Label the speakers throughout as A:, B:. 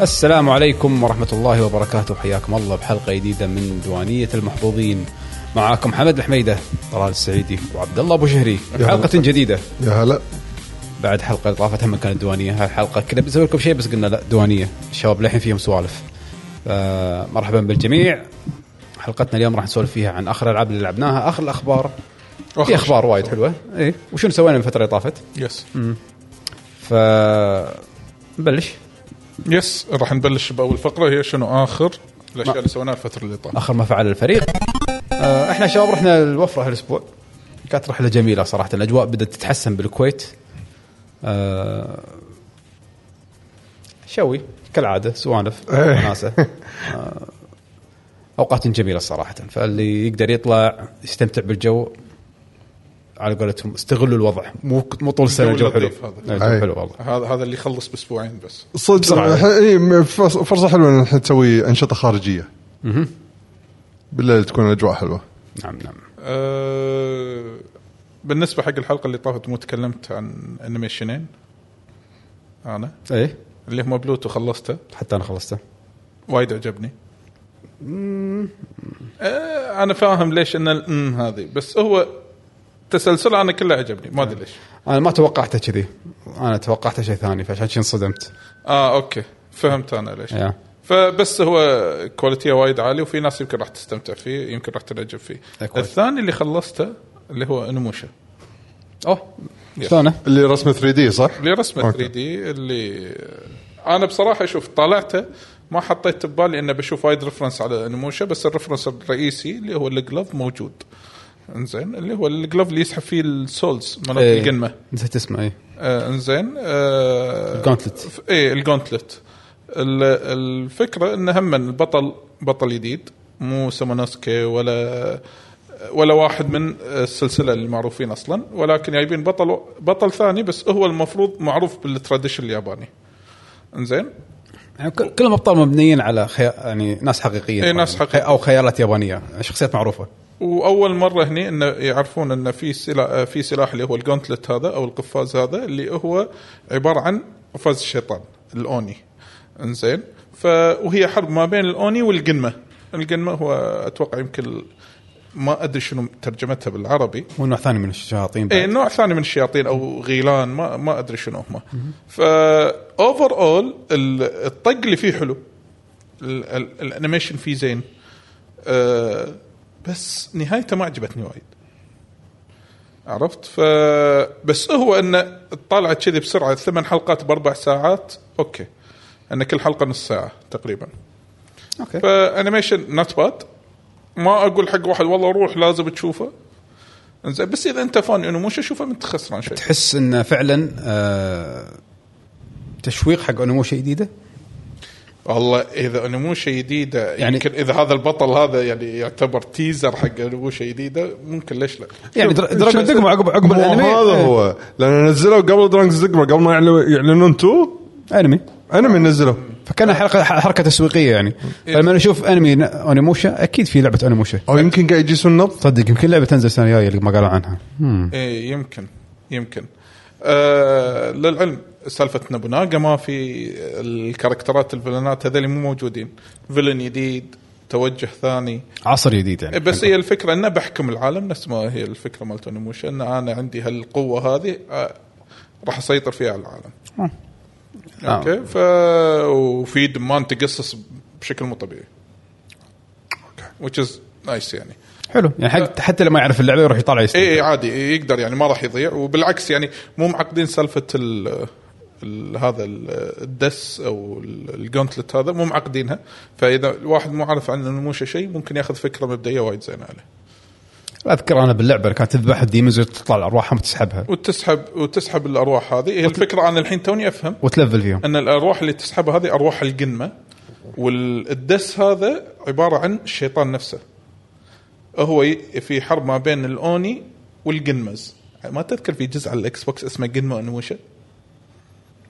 A: السلام عليكم ورحمة الله وبركاته حياكم الله بحلقة جديدة من دوانية المحظوظين معاكم حمد الحميدة طلال السعيدي وعبد الله أبو شهري
B: يا هلا.
A: بحلقة جديدة
B: يا هلا
A: بعد حلقة طافت هم كانت دوانية هالحلقة كنا بنسوي لكم شيء بس قلنا لا دوانية الشباب للحين فيهم سوالف آه، مرحبا بالجميع حلقتنا اليوم راح نسولف فيها عن اخر الالعاب اللي لعبناها اخر الاخبار في اخبار وايد حلوه اي وشنو سوينا الفتره اللي طافت
C: يس
A: ف نبلش
C: يس راح نبلش باول فقره هي شنو اخر الاشياء اللي سويناها الفتره اللي طافت
A: اخر ما فعل الفريق آه، احنا شباب رحنا الوفره هالاسبوع كانت رحله جميله صراحه الاجواء بدات تتحسن بالكويت آه، شوي كالعاده سوالف
B: إيه.
A: وناسه آه، اوقات جميله صراحه فاللي يقدر يطلع يستمتع بالجو على قولتهم استغلوا الوضع مو مو طول السنه
C: الجو
A: الجو حلو
C: اللطيف هذا.
A: إيه، الجو
B: إيه.
A: حلو والله
C: هذا هذا اللي يخلص باسبوعين بس
B: صدق
A: بسرعة.
B: إح- إي، م- فرص- فرصه حلوه ان احنا نسوي انشطه خارجيه بالليل تكون الاجواء حلوه
A: نعم نعم
C: أه بالنسبه حق الحلقه اللي طافت مو تكلمت عن انيميشنين انا
A: ايه
C: اللي هم بلوتو خلصته
A: حتى انا خلصته
C: وايد عجبني أه انا فاهم ليش ان الام هذه بس هو تسلسل انا كله عجبني ما ادري ليش
A: انا ما توقعته كذي انا توقعته شيء ثاني فعشان شي انصدمت
C: اه اوكي فهمت انا ليش
A: يا.
C: فبس هو كواليتيه وايد عالي وفي ناس يمكن راح تستمتع فيه يمكن راح تعجب فيه
A: أكويس.
C: الثاني اللي خلصته اللي هو انموشا
A: اوه شلونه؟
B: اللي رسمه 3 دي صح؟
C: اللي رسمه
B: أوكي.
C: 3 دي اللي انا بصراحه شوف طالعته ما حطيت ببالي انه بشوف وايد ريفرنس على انموشا بس الريفرنس الرئيسي اللي هو الجلوف موجود انزين اللي هو الجلوف اللي يسحب فيه السولز مالت
A: إيه.
C: القمه
A: نسيت اسمه إيه. اي
C: آه انزين آه
A: الجونتلت.
C: ف- ايه الجونتلت ال- الفكره ان هم البطل بطل جديد مو سمونوسكي ولا ولا واحد من السلسله المعروفين اصلا ولكن جايبين بطل بطل ثاني بس هو المفروض معروف بالتراديشن الياباني انزين
A: يعني كل- كلهم ابطال مبنيين على خي... يعني ناس حقيقيين
C: إيه، ناس
A: طبعاً.
C: حقيقيين.
A: خي- او خيالات يابانيه شخصيات معروفه
C: واول مره هني انه يعرفون ان في سلاح في سلاح اللي هو الجونتلت هذا او القفاز هذا اللي هو عباره عن قفاز الشيطان الاوني انزين ف وهي حرب ما بين الاوني والقنمه القنمه هو اتوقع يمكن ما ادري شنو ترجمتها بالعربي
A: ونوع ثاني من الشياطين بعد.
C: اي إيه، نوع ثاني من الشياطين او غيلان ما ما ادري شنو هم فا اوفر اول الطق اللي فيه حلو ال- ال- الانيميشن فيه زين أه بس نهايته ما عجبتني وايد عرفت ف بس هو انه طالعت كذي بسرعه ثمان حلقات باربع ساعات اوكي ان كل حلقه نص ساعه تقريبا
A: اوكي
C: فانيميشن نوت باد ما اقول حق واحد والله روح لازم تشوفه انزين بس اذا انت فان انوموشا شوفه ما انت خسران شيء
A: تحس انه فعلا آه... تشويق حق انموشا جديده
C: والله اذا انوموشا جديده
A: يعني-
C: يعني يمكن اذا هذا البطل هذا يعني يعتبر تيزر حق انوموشا جديده ممكن ليش لا
A: يعني در- دراجون
B: شو-
A: دقمة عقب عقب
B: مو
A: الانمي
B: هذا
A: إيه.
B: هو لان نزلوا قبل درانكس دقمه قبل ما يعلو- يعلنون تو
A: انمي
B: انمي نزلوا
A: فكان حلقه ح- حركه تسويقيه يعني فلما نشوف انمي ن- انموشا اكيد في لعبه انموشا
B: او يمكن قاعد يجيسون نبض
A: صدق يمكن لعبه تنزل السنه الجايه اللي ما قالوا عنها مم.
C: إيه يمكن يمكن آه للعلم سالفه نبوناغا ما في الكاركترات الفلانات هذول مو موجودين فيلن جديد توجه ثاني
A: عصر جديد يعني
C: إيه، بس هي الفكره انه بحكم العالم نفس ما هي الفكره مالت انيموشن ان انا عندي هالقوه هذه آه، راح اسيطر فيها على العالم
A: آه.
C: اوكي ف وفي دمان تقصص بشكل مو طبيعي which is nice يعني
A: حلو يعني حق حتى اللي ما يعرف اللعبه يروح يطالع يستمتع
C: اي اي عادي إي يقدر يعني ما راح يضيع وبالعكس يعني مو معقدين سالفه ال ال- هذا ال- الدس او ال- الجونتلت هذا مو معقدينها فاذا الواحد مو عارف عن النموشه شيء ممكن ياخذ فكره مبدئيه وايد زينه عليه
A: اذكر انا باللعبه كانت تذبح الديمز وتطلع ارواحهم وتسحبها
C: وتسحب وتسحب الارواح هذه هي الفكره انا الحين توني افهم
A: وتلفل فيهم
C: ان الارواح اللي تسحبها هذه ارواح القنمه والدس هذا عباره عن الشيطان نفسه هو ي- في حرب ما بين الاوني والقنمز ما تذكر في جزء على الاكس بوكس اسمه قنمه انوموشا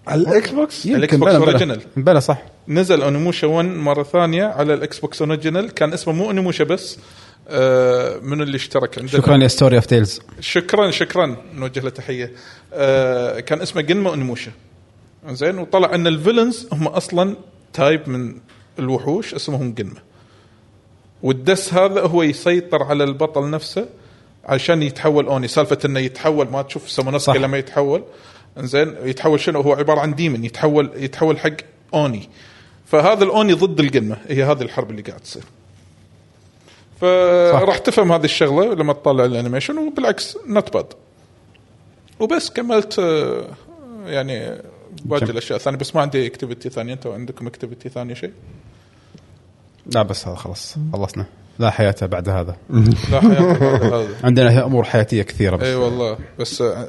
B: على الاكس بوكس
C: الإكس
A: يمكن
C: بوكس
A: بلا- بلا.
C: أوريجينال.
A: بلا صح
C: نزل انوموشا 1 مره ثانيه على الاكس بوكس اوريجينال كان اسمه مو انوموشا بس آه من اللي اشترك عندنا
A: شكرا يا ستوري اوف تيلز
C: شكرا شكرا نوجه له تحيه آه كان اسمه جنما انموشا زين وطلع ان الفيلنز هم اصلا تايب من الوحوش اسمهم قنمه والدس هذا هو يسيطر على البطل نفسه عشان يتحول اوني سالفه انه يتحول ما تشوف
A: صح.
C: سمونوسكي لما يتحول زين يتحول شنو هو عباره عن ديمن يتحول يتحول حق اوني فهذا الاوني ضد القنمه هي هذه الحرب اللي قاعد تصير فراح تفهم هذه الشغله لما تطلع الانيميشن وبالعكس نوت باد وبس كملت آه، يعني باقي
A: جميل.
C: الاشياء الثانيه بس ما عندي اكتيفيتي ثانيه انتم عندكم اكتيفيتي ثانيه شيء؟
A: لا بس هذا خلاص خلصنا لا حياه بعد هذا
C: لا حياتي بعد هذا
A: عندنا امور حياتيه كثيره
C: اي
A: بس
C: والله بس آه،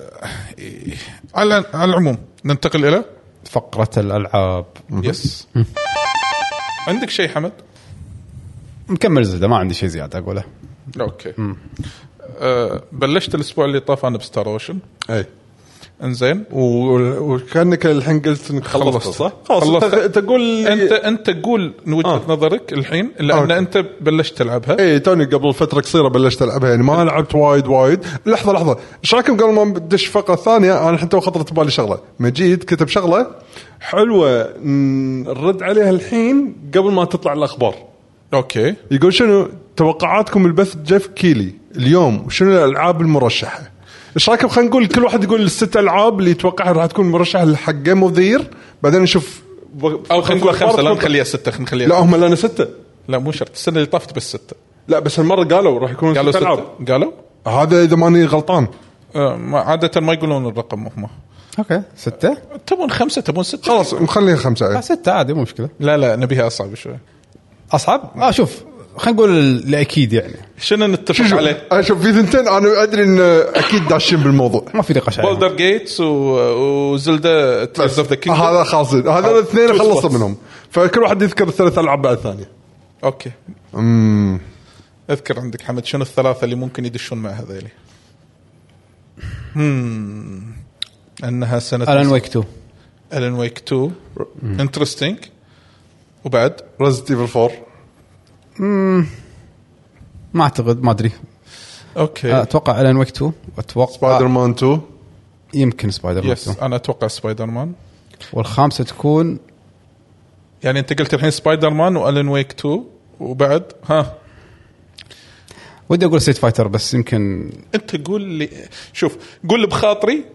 C: إيه. على على العموم ننتقل الى
A: فقره الالعاب
C: يس عندك شيء حمد؟
A: مكمل زلده ما عندي شيء زياده اقوله
C: اوكي آه، بلشت الاسبوع اللي طاف انا بستار اوشن
B: اي
C: انزين
B: و- وكانك الحين قلت انك خلصت
C: خلصت.
B: صح؟ خلاص
C: خلصت.
B: أنت- انت تقول
C: انت
B: انت
C: انت قول من وجهه
B: آه.
C: نظرك الحين لان
B: أوكي.
C: انت بلشت تلعبها
B: اي إيه، توني قبل فتره قصيره بلشت العبها يعني ما لعبت وايد وايد لحظه لحظه ايش رايكم قبل ما ندش فقره ثانيه انا حتى خطرت ببالي شغله مجيد كتب شغله حلوه ن- نرد عليها الحين قبل ما تطلع الاخبار
C: اوكي
B: يقول شنو توقعاتكم البث جيف كيلي اليوم وشنو الالعاب المرشحه ايش رايكم خلينا نقول كل واحد يقول الست العاب اللي يتوقعها راح تكون مرشحه لحق جيم اوف بعدين نشوف
C: او خلينا نقول خمسه لا نخليها سته خلينا نخليها
B: لا هم لنا سته
C: لا مو شرط السنه اللي طافت بس سته
B: لا بس هالمره قالوا راح يكون
C: قالوا
B: ست العاب
C: سته قالوا
B: هذا اذا ماني غلطان
C: آه، ما- عاده ما يقولون الرقم هم
A: اوكي سته
C: تبون خمسه تبون سته
B: خلاص مخليها خمسه
A: آه،
B: أي.
A: سته عادي مو مشكله
C: لا لا نبيها اصعب شوي
A: اصعب اه شوف خلينا نقول الاكيد يعني
C: شنو أيوه. نتفق
B: شوف
C: عليه؟
B: أنا شوف في ثنتين انا ادري ان اكيد داشين بالموضوع
A: ما في نقاش عليهم.
C: بولدر جيتس و- وزلدا تيرز اوف ذا كينج
B: هذا خلاص هذا الاثنين خلصنا منهم فكل واحد يذكر الثلاث العاب بعد الثانيه
C: اوكي اذكر عندك حمد شنو الثلاثه اللي ممكن يدشون مع هذيلي؟ امم انها سنه
A: الان ويك 2
C: الان ويك 2 انترستنج وبعد
B: ريزنت ايفل 4
A: ما اعتقد ما ادري آه،
C: اوكي
A: اتوقع الان ويك 2 اتوقع
B: سبايدر مان 2
A: يمكن سبايدر مان
C: يس
A: 2
C: انا اتوقع سبايدر مان
A: والخامسه تكون
C: يعني انت قلت الحين سبايدر مان والان ويك 2 وبعد ها
A: ودي اقول سيت فايتر بس يمكن
C: انت قول لي شوف قول اللي بخاطري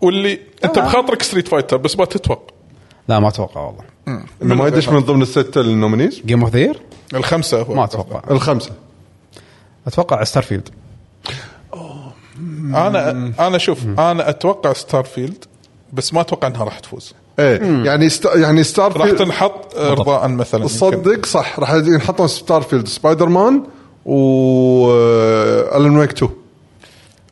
C: واللي انت بخاطرك ستريت فايتر بس ما تتوقع
A: لا ما اتوقع والله
B: انه ما يدش من ضمن السته النومينيز
A: جيم اوف ذا
C: الخمسه هو
A: ما اتوقع
B: الخمسه
A: اتوقع ستارفيلد
C: انا انا شوف انا اتوقع ستار فيلد بس ما اتوقع انها راح تفوز
B: ايه يعني ست... يعني
C: راح
B: ستار فيلد
C: تنحط ارضاء مثلا يمكن.
B: تصدق صح راح ينحطون ستار فيلد سبايدر مان و آه، الن ويك 2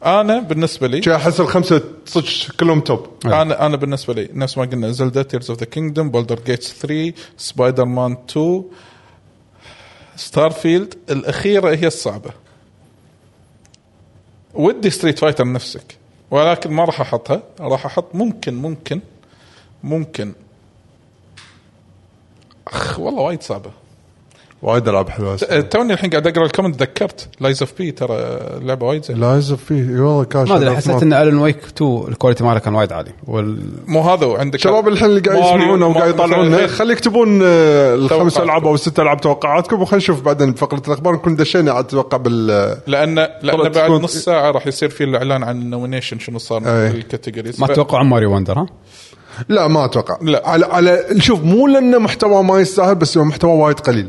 C: انا بالنسبه لي
B: شي احس الخمسه صدق كلهم توب
C: انا انا بالنسبه لي نفس ما قلنا زلدا تيرز اوف ذا كينجدوم بولدر جيتس 3 سبايدر مان 2 ستار فيلد الاخيره هي الصعبه ودي ستريت فايتر نفسك ولكن ما راح احطها راح احط ممكن ممكن ممكن اخ والله وايد صعبه
B: وايد العاب حلوه
C: أه، توني الحين قاعد اقرا الكومنت تذكرت لايز اوف بي ترى لعبه وايد زينه
B: لا يزف فيه اي والله كاش
A: ما ادري حسيت ان الن ويك 2 الكواليتي ماله كان وايد عالي وال...
C: مو هذا وعندك
B: شباب الحين اللي قاعد
C: ماريو-
B: يسمعونا وقاعد
C: ماريو
B: يطالعونا
C: الحين.
B: خلي يكتبون آه، الخمس
C: توقعاتكم.
B: العاب او الست العاب توقعاتكم وخلينا نشوف بعدين بفقره الاخبار نكون دشينا عاد اتوقع بال
C: لان لان
B: طلعت
C: بعد
B: تكون-
C: نص ساعه راح يصير في الاعلان عن النومينيشن شنو صار
B: أي.
C: في الكاتيجوريز
A: ما
C: ف-
A: اتوقع ماريو وندر ها
B: لا ما اتوقع
C: لا.
B: على على شوف مو لانه محتوى ما يستاهل بس هو محتوى وايد قليل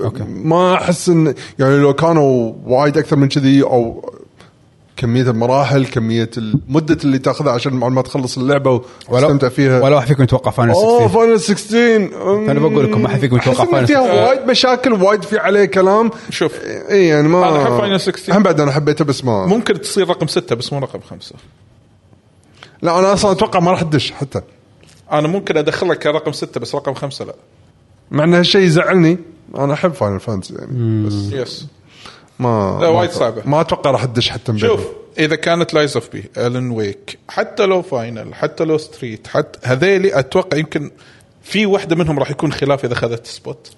A: أوكي.
B: ما احس ان يعني لو كانوا وايد اكثر من كذي او كميه المراحل كميه المده اللي تاخذها عشان على ما تخلص اللعبه وتستمتع فيها
A: ولا واحد فيكم يتوقع فاينل
B: اوه
A: 16
B: فاينل 16
A: أنا بقول لكم ما حد فيكم يتوقع
B: فاينل
A: Final
B: 16
A: 16.
B: وايد مشاكل وايد في عليه كلام
C: شوف.
B: اي يعني ما
C: أنا أحب Final 16.
B: هم بعد انا حبيته بس ما
C: ممكن تصير رقم ستة بس مو رقم خمسة
B: لا انا اصلا اتوقع ما راح تدش حتى
C: انا ممكن ادخلك كرقم ستة بس رقم خمسة لا
B: مع ان هالشيء يزعلني انا احب فاينل فانتسي يعني بس
C: يس
B: ما
C: لا،
B: ما
C: وايد
B: أتوقع-
C: صعبة.
B: ما اتوقع راح تدش حتى من
C: شوف
B: بينهم.
C: اذا كانت لايز اوف بي الن ويك حتى لو فاينل حتى لو ستريت حتى هذيلي اتوقع يمكن في واحده منهم راح يكون خلاف اذا اخذت سبوت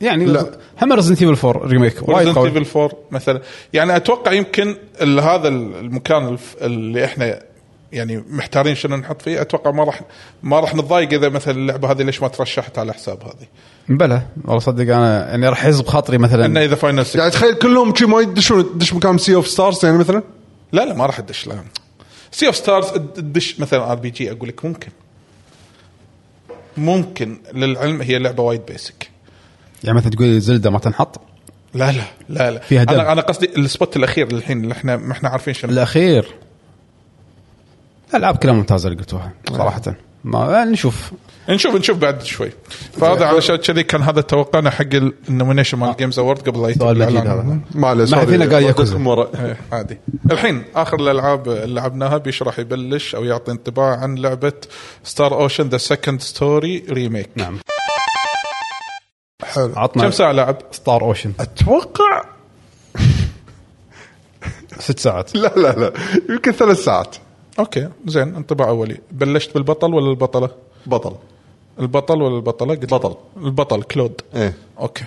A: يعني
B: لا.
A: هم ريزنت ايفل 4 ريميك وايد
C: ريزنت
A: قوي
C: ايفل 4 مثلا يعني اتوقع يمكن ال- هذا المكان الف- اللي احنا يعني محتارين شنو نحط فيه اتوقع ما راح ما راح نتضايق اذا مثلا اللعبه هذه ليش ما ترشحت على حساب هذه
A: بلى والله صدق انا يعني راح يحز بخاطري
C: انه
A: مثلا
C: اذا فاينل 6
B: يعني تخيل كلهم شي ما يدشون تدش مكان سي اوف ستارز يعني مثلا
C: لا لا ما راح ادش لا سي اوف ستارز تدش مثلا ار بي جي اقول لك ممكن ممكن للعلم هي لعبه وايد بيسك
A: يعني مثلا تقول لي زلده ما تنحط
C: لا لا لا لا
A: فيها دم.
C: انا انا قصدي السبوت الاخير الحين اللي احنا ما احنا عارفين شنو
A: الاخير الالعاب كلها ممتازه اللي قلتوها صراحه ما يعني نشوف
C: نشوف نشوف بعد شوي فهذا علشان كذي كان هذا توقعنا حق النومينيشن مال جيمز اوورد قبل لا يتم
A: سؤال مجيد
C: الإعلان.
A: هذا
B: ما عليه
A: ما
B: سوري.
A: فينا قال ياكوزا
B: وديتكم ورا.
C: إيه، عادي الحين اخر الالعاب اللي لعبناها بيش راح يبلش او يعطي انطباع عن لعبه ستار اوشن ذا سكند ستوري ريميك
A: نعم
B: حلو
A: عطنا
C: كم ساعه لعب؟
A: ستار اوشن
B: اتوقع
A: ست ساعات
B: لا لا لا يمكن ثلاث ساعات
C: اوكي زين انطباع اولي بلشت بالبطل ولا البطله؟
B: بطل
C: البطل ولا البطله؟ قلت
B: بطل.
C: البطل كلود
B: ايه
C: اوكي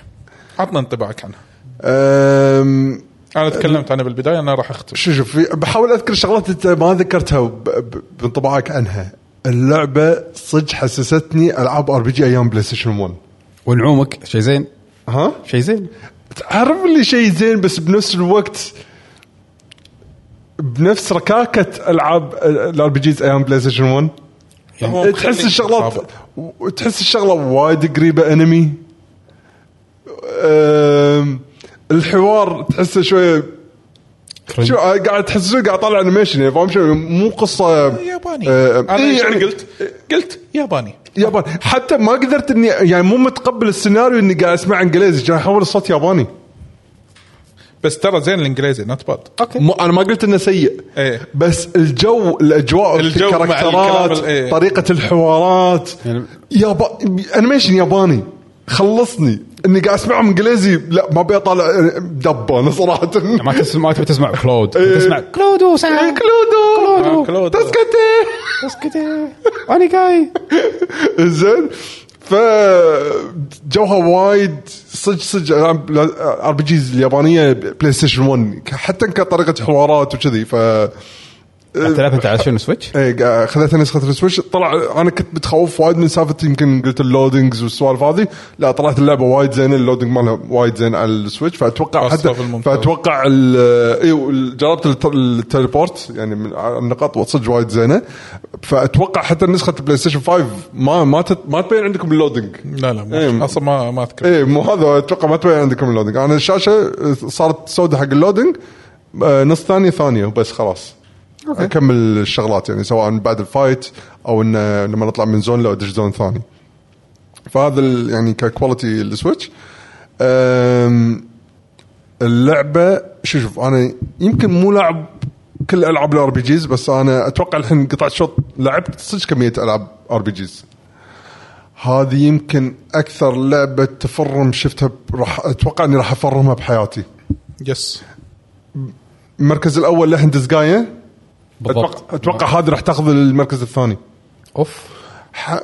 C: عطنا انطباعك عنها
B: أم،
C: انا تكلمت عنها بالبدايه انا راح اختم
B: شو شوف في- بحاول اذكر شغلات انت ما ذكرتها وب- ب- بانطباعك عنها اللعبه صدق حسستني العاب ار بي جي ايام بلاي ستيشن 1
A: ونعومك شيء زين
B: ها
A: شيء زين
B: تعرف اللي شيء زين بس بنفس الوقت بنفس ركاكه العاب الار بي جيز ايام بلاي ستيشن 1
C: هو مخلي
B: تحس الشغلات
C: صعبة.
B: تحس الشغله وايد قريبه انمي أم، الحوار تحسه شويه
C: طيب.
B: شو آه، قاعد تحس شوي قاعد طالع انيميشن يعني فاهم شو مو قصه
C: ياباني
B: آه،
C: انا
B: إيه،
C: إيش
B: يعني-
C: قلت؟ قلت ياباني
B: يابان حتى ما قدرت اني يعني مو متقبل السيناريو اني قاعد اسمع انجليزي كان احول صوت ياباني
C: بس ترى زين الانجليزي نوت باد
B: مو انا ما قلت انه سيء
C: إيه.
B: بس الجو الاجواء
C: الجو مع الكلام
B: الكاركترات
C: ال- إيه.
B: طريقه الحوارات
A: يعني-
B: يابا انيميشن ياباني خلصني اني قاعد اسمعهم انجليزي لا ما آه، ابي اطالع دب انا صراحه
A: ما تسمع ما تبي تسمع كلود تسمع إيه. كلودو سان
B: كلودو
A: آه،
C: كلودو.
B: تسكتي
A: اسكتي انا جاي
B: زين ف جوها وايد صدق صدق العاب ار بي جيز اليابانيه بلاي ستيشن 1 حتى كطريقه حوارات وكذي ف
A: تلعب انت على شنو سويتش؟
B: ايه قا- خذيتها نسخه السويتش طلع انا كنت متخوف وايد من سالفه يمكن قلت اللودنجز والسوالف هذه لا طلعت اللعبه وايد زينه اللودنج مالها وايد زين على السويتش فاتوقع
C: خاصة
B: حتى
C: بالممتاز.
B: فاتوقع ال- اي وال- جربت الت- التليبورت يعني من على النقاط صدق وايد زينه فاتوقع حتى نسخه البلاي ستيشن 5 ما ما تت- ما تبين عندكم اللودنج
C: لا لا مو-
B: إيه.
C: اصلا ما ما اذكر
B: ايه مو هذا اتوقع ما تبين عندكم اللودنج انا الشاشه صارت سوداء حق اللودنج آه، نص ثانيه ثانيه وبس خلاص اكمل الشغلات يعني سواء بعد الفايت او انه لما نطلع من زون لو ادش زون ثاني فهذا ال- يعني ككواليتي السويتش أم، اللعبه شو شوف انا يمكن مو لاعب كل العاب الار بي جيز بس انا اتوقع الحين قطعت شوط لعبت صدق كميه العاب ار بي جيز هذه يمكن اكثر لعبه تفرم شفتها ب- راح اتوقع اني راح افرمها بحياتي
C: يس
B: المركز الاول لهندس جايه
A: بالضبط.
B: اتوقع اتوقع هذه راح تاخذ المركز الثاني
A: اوف
B: ح-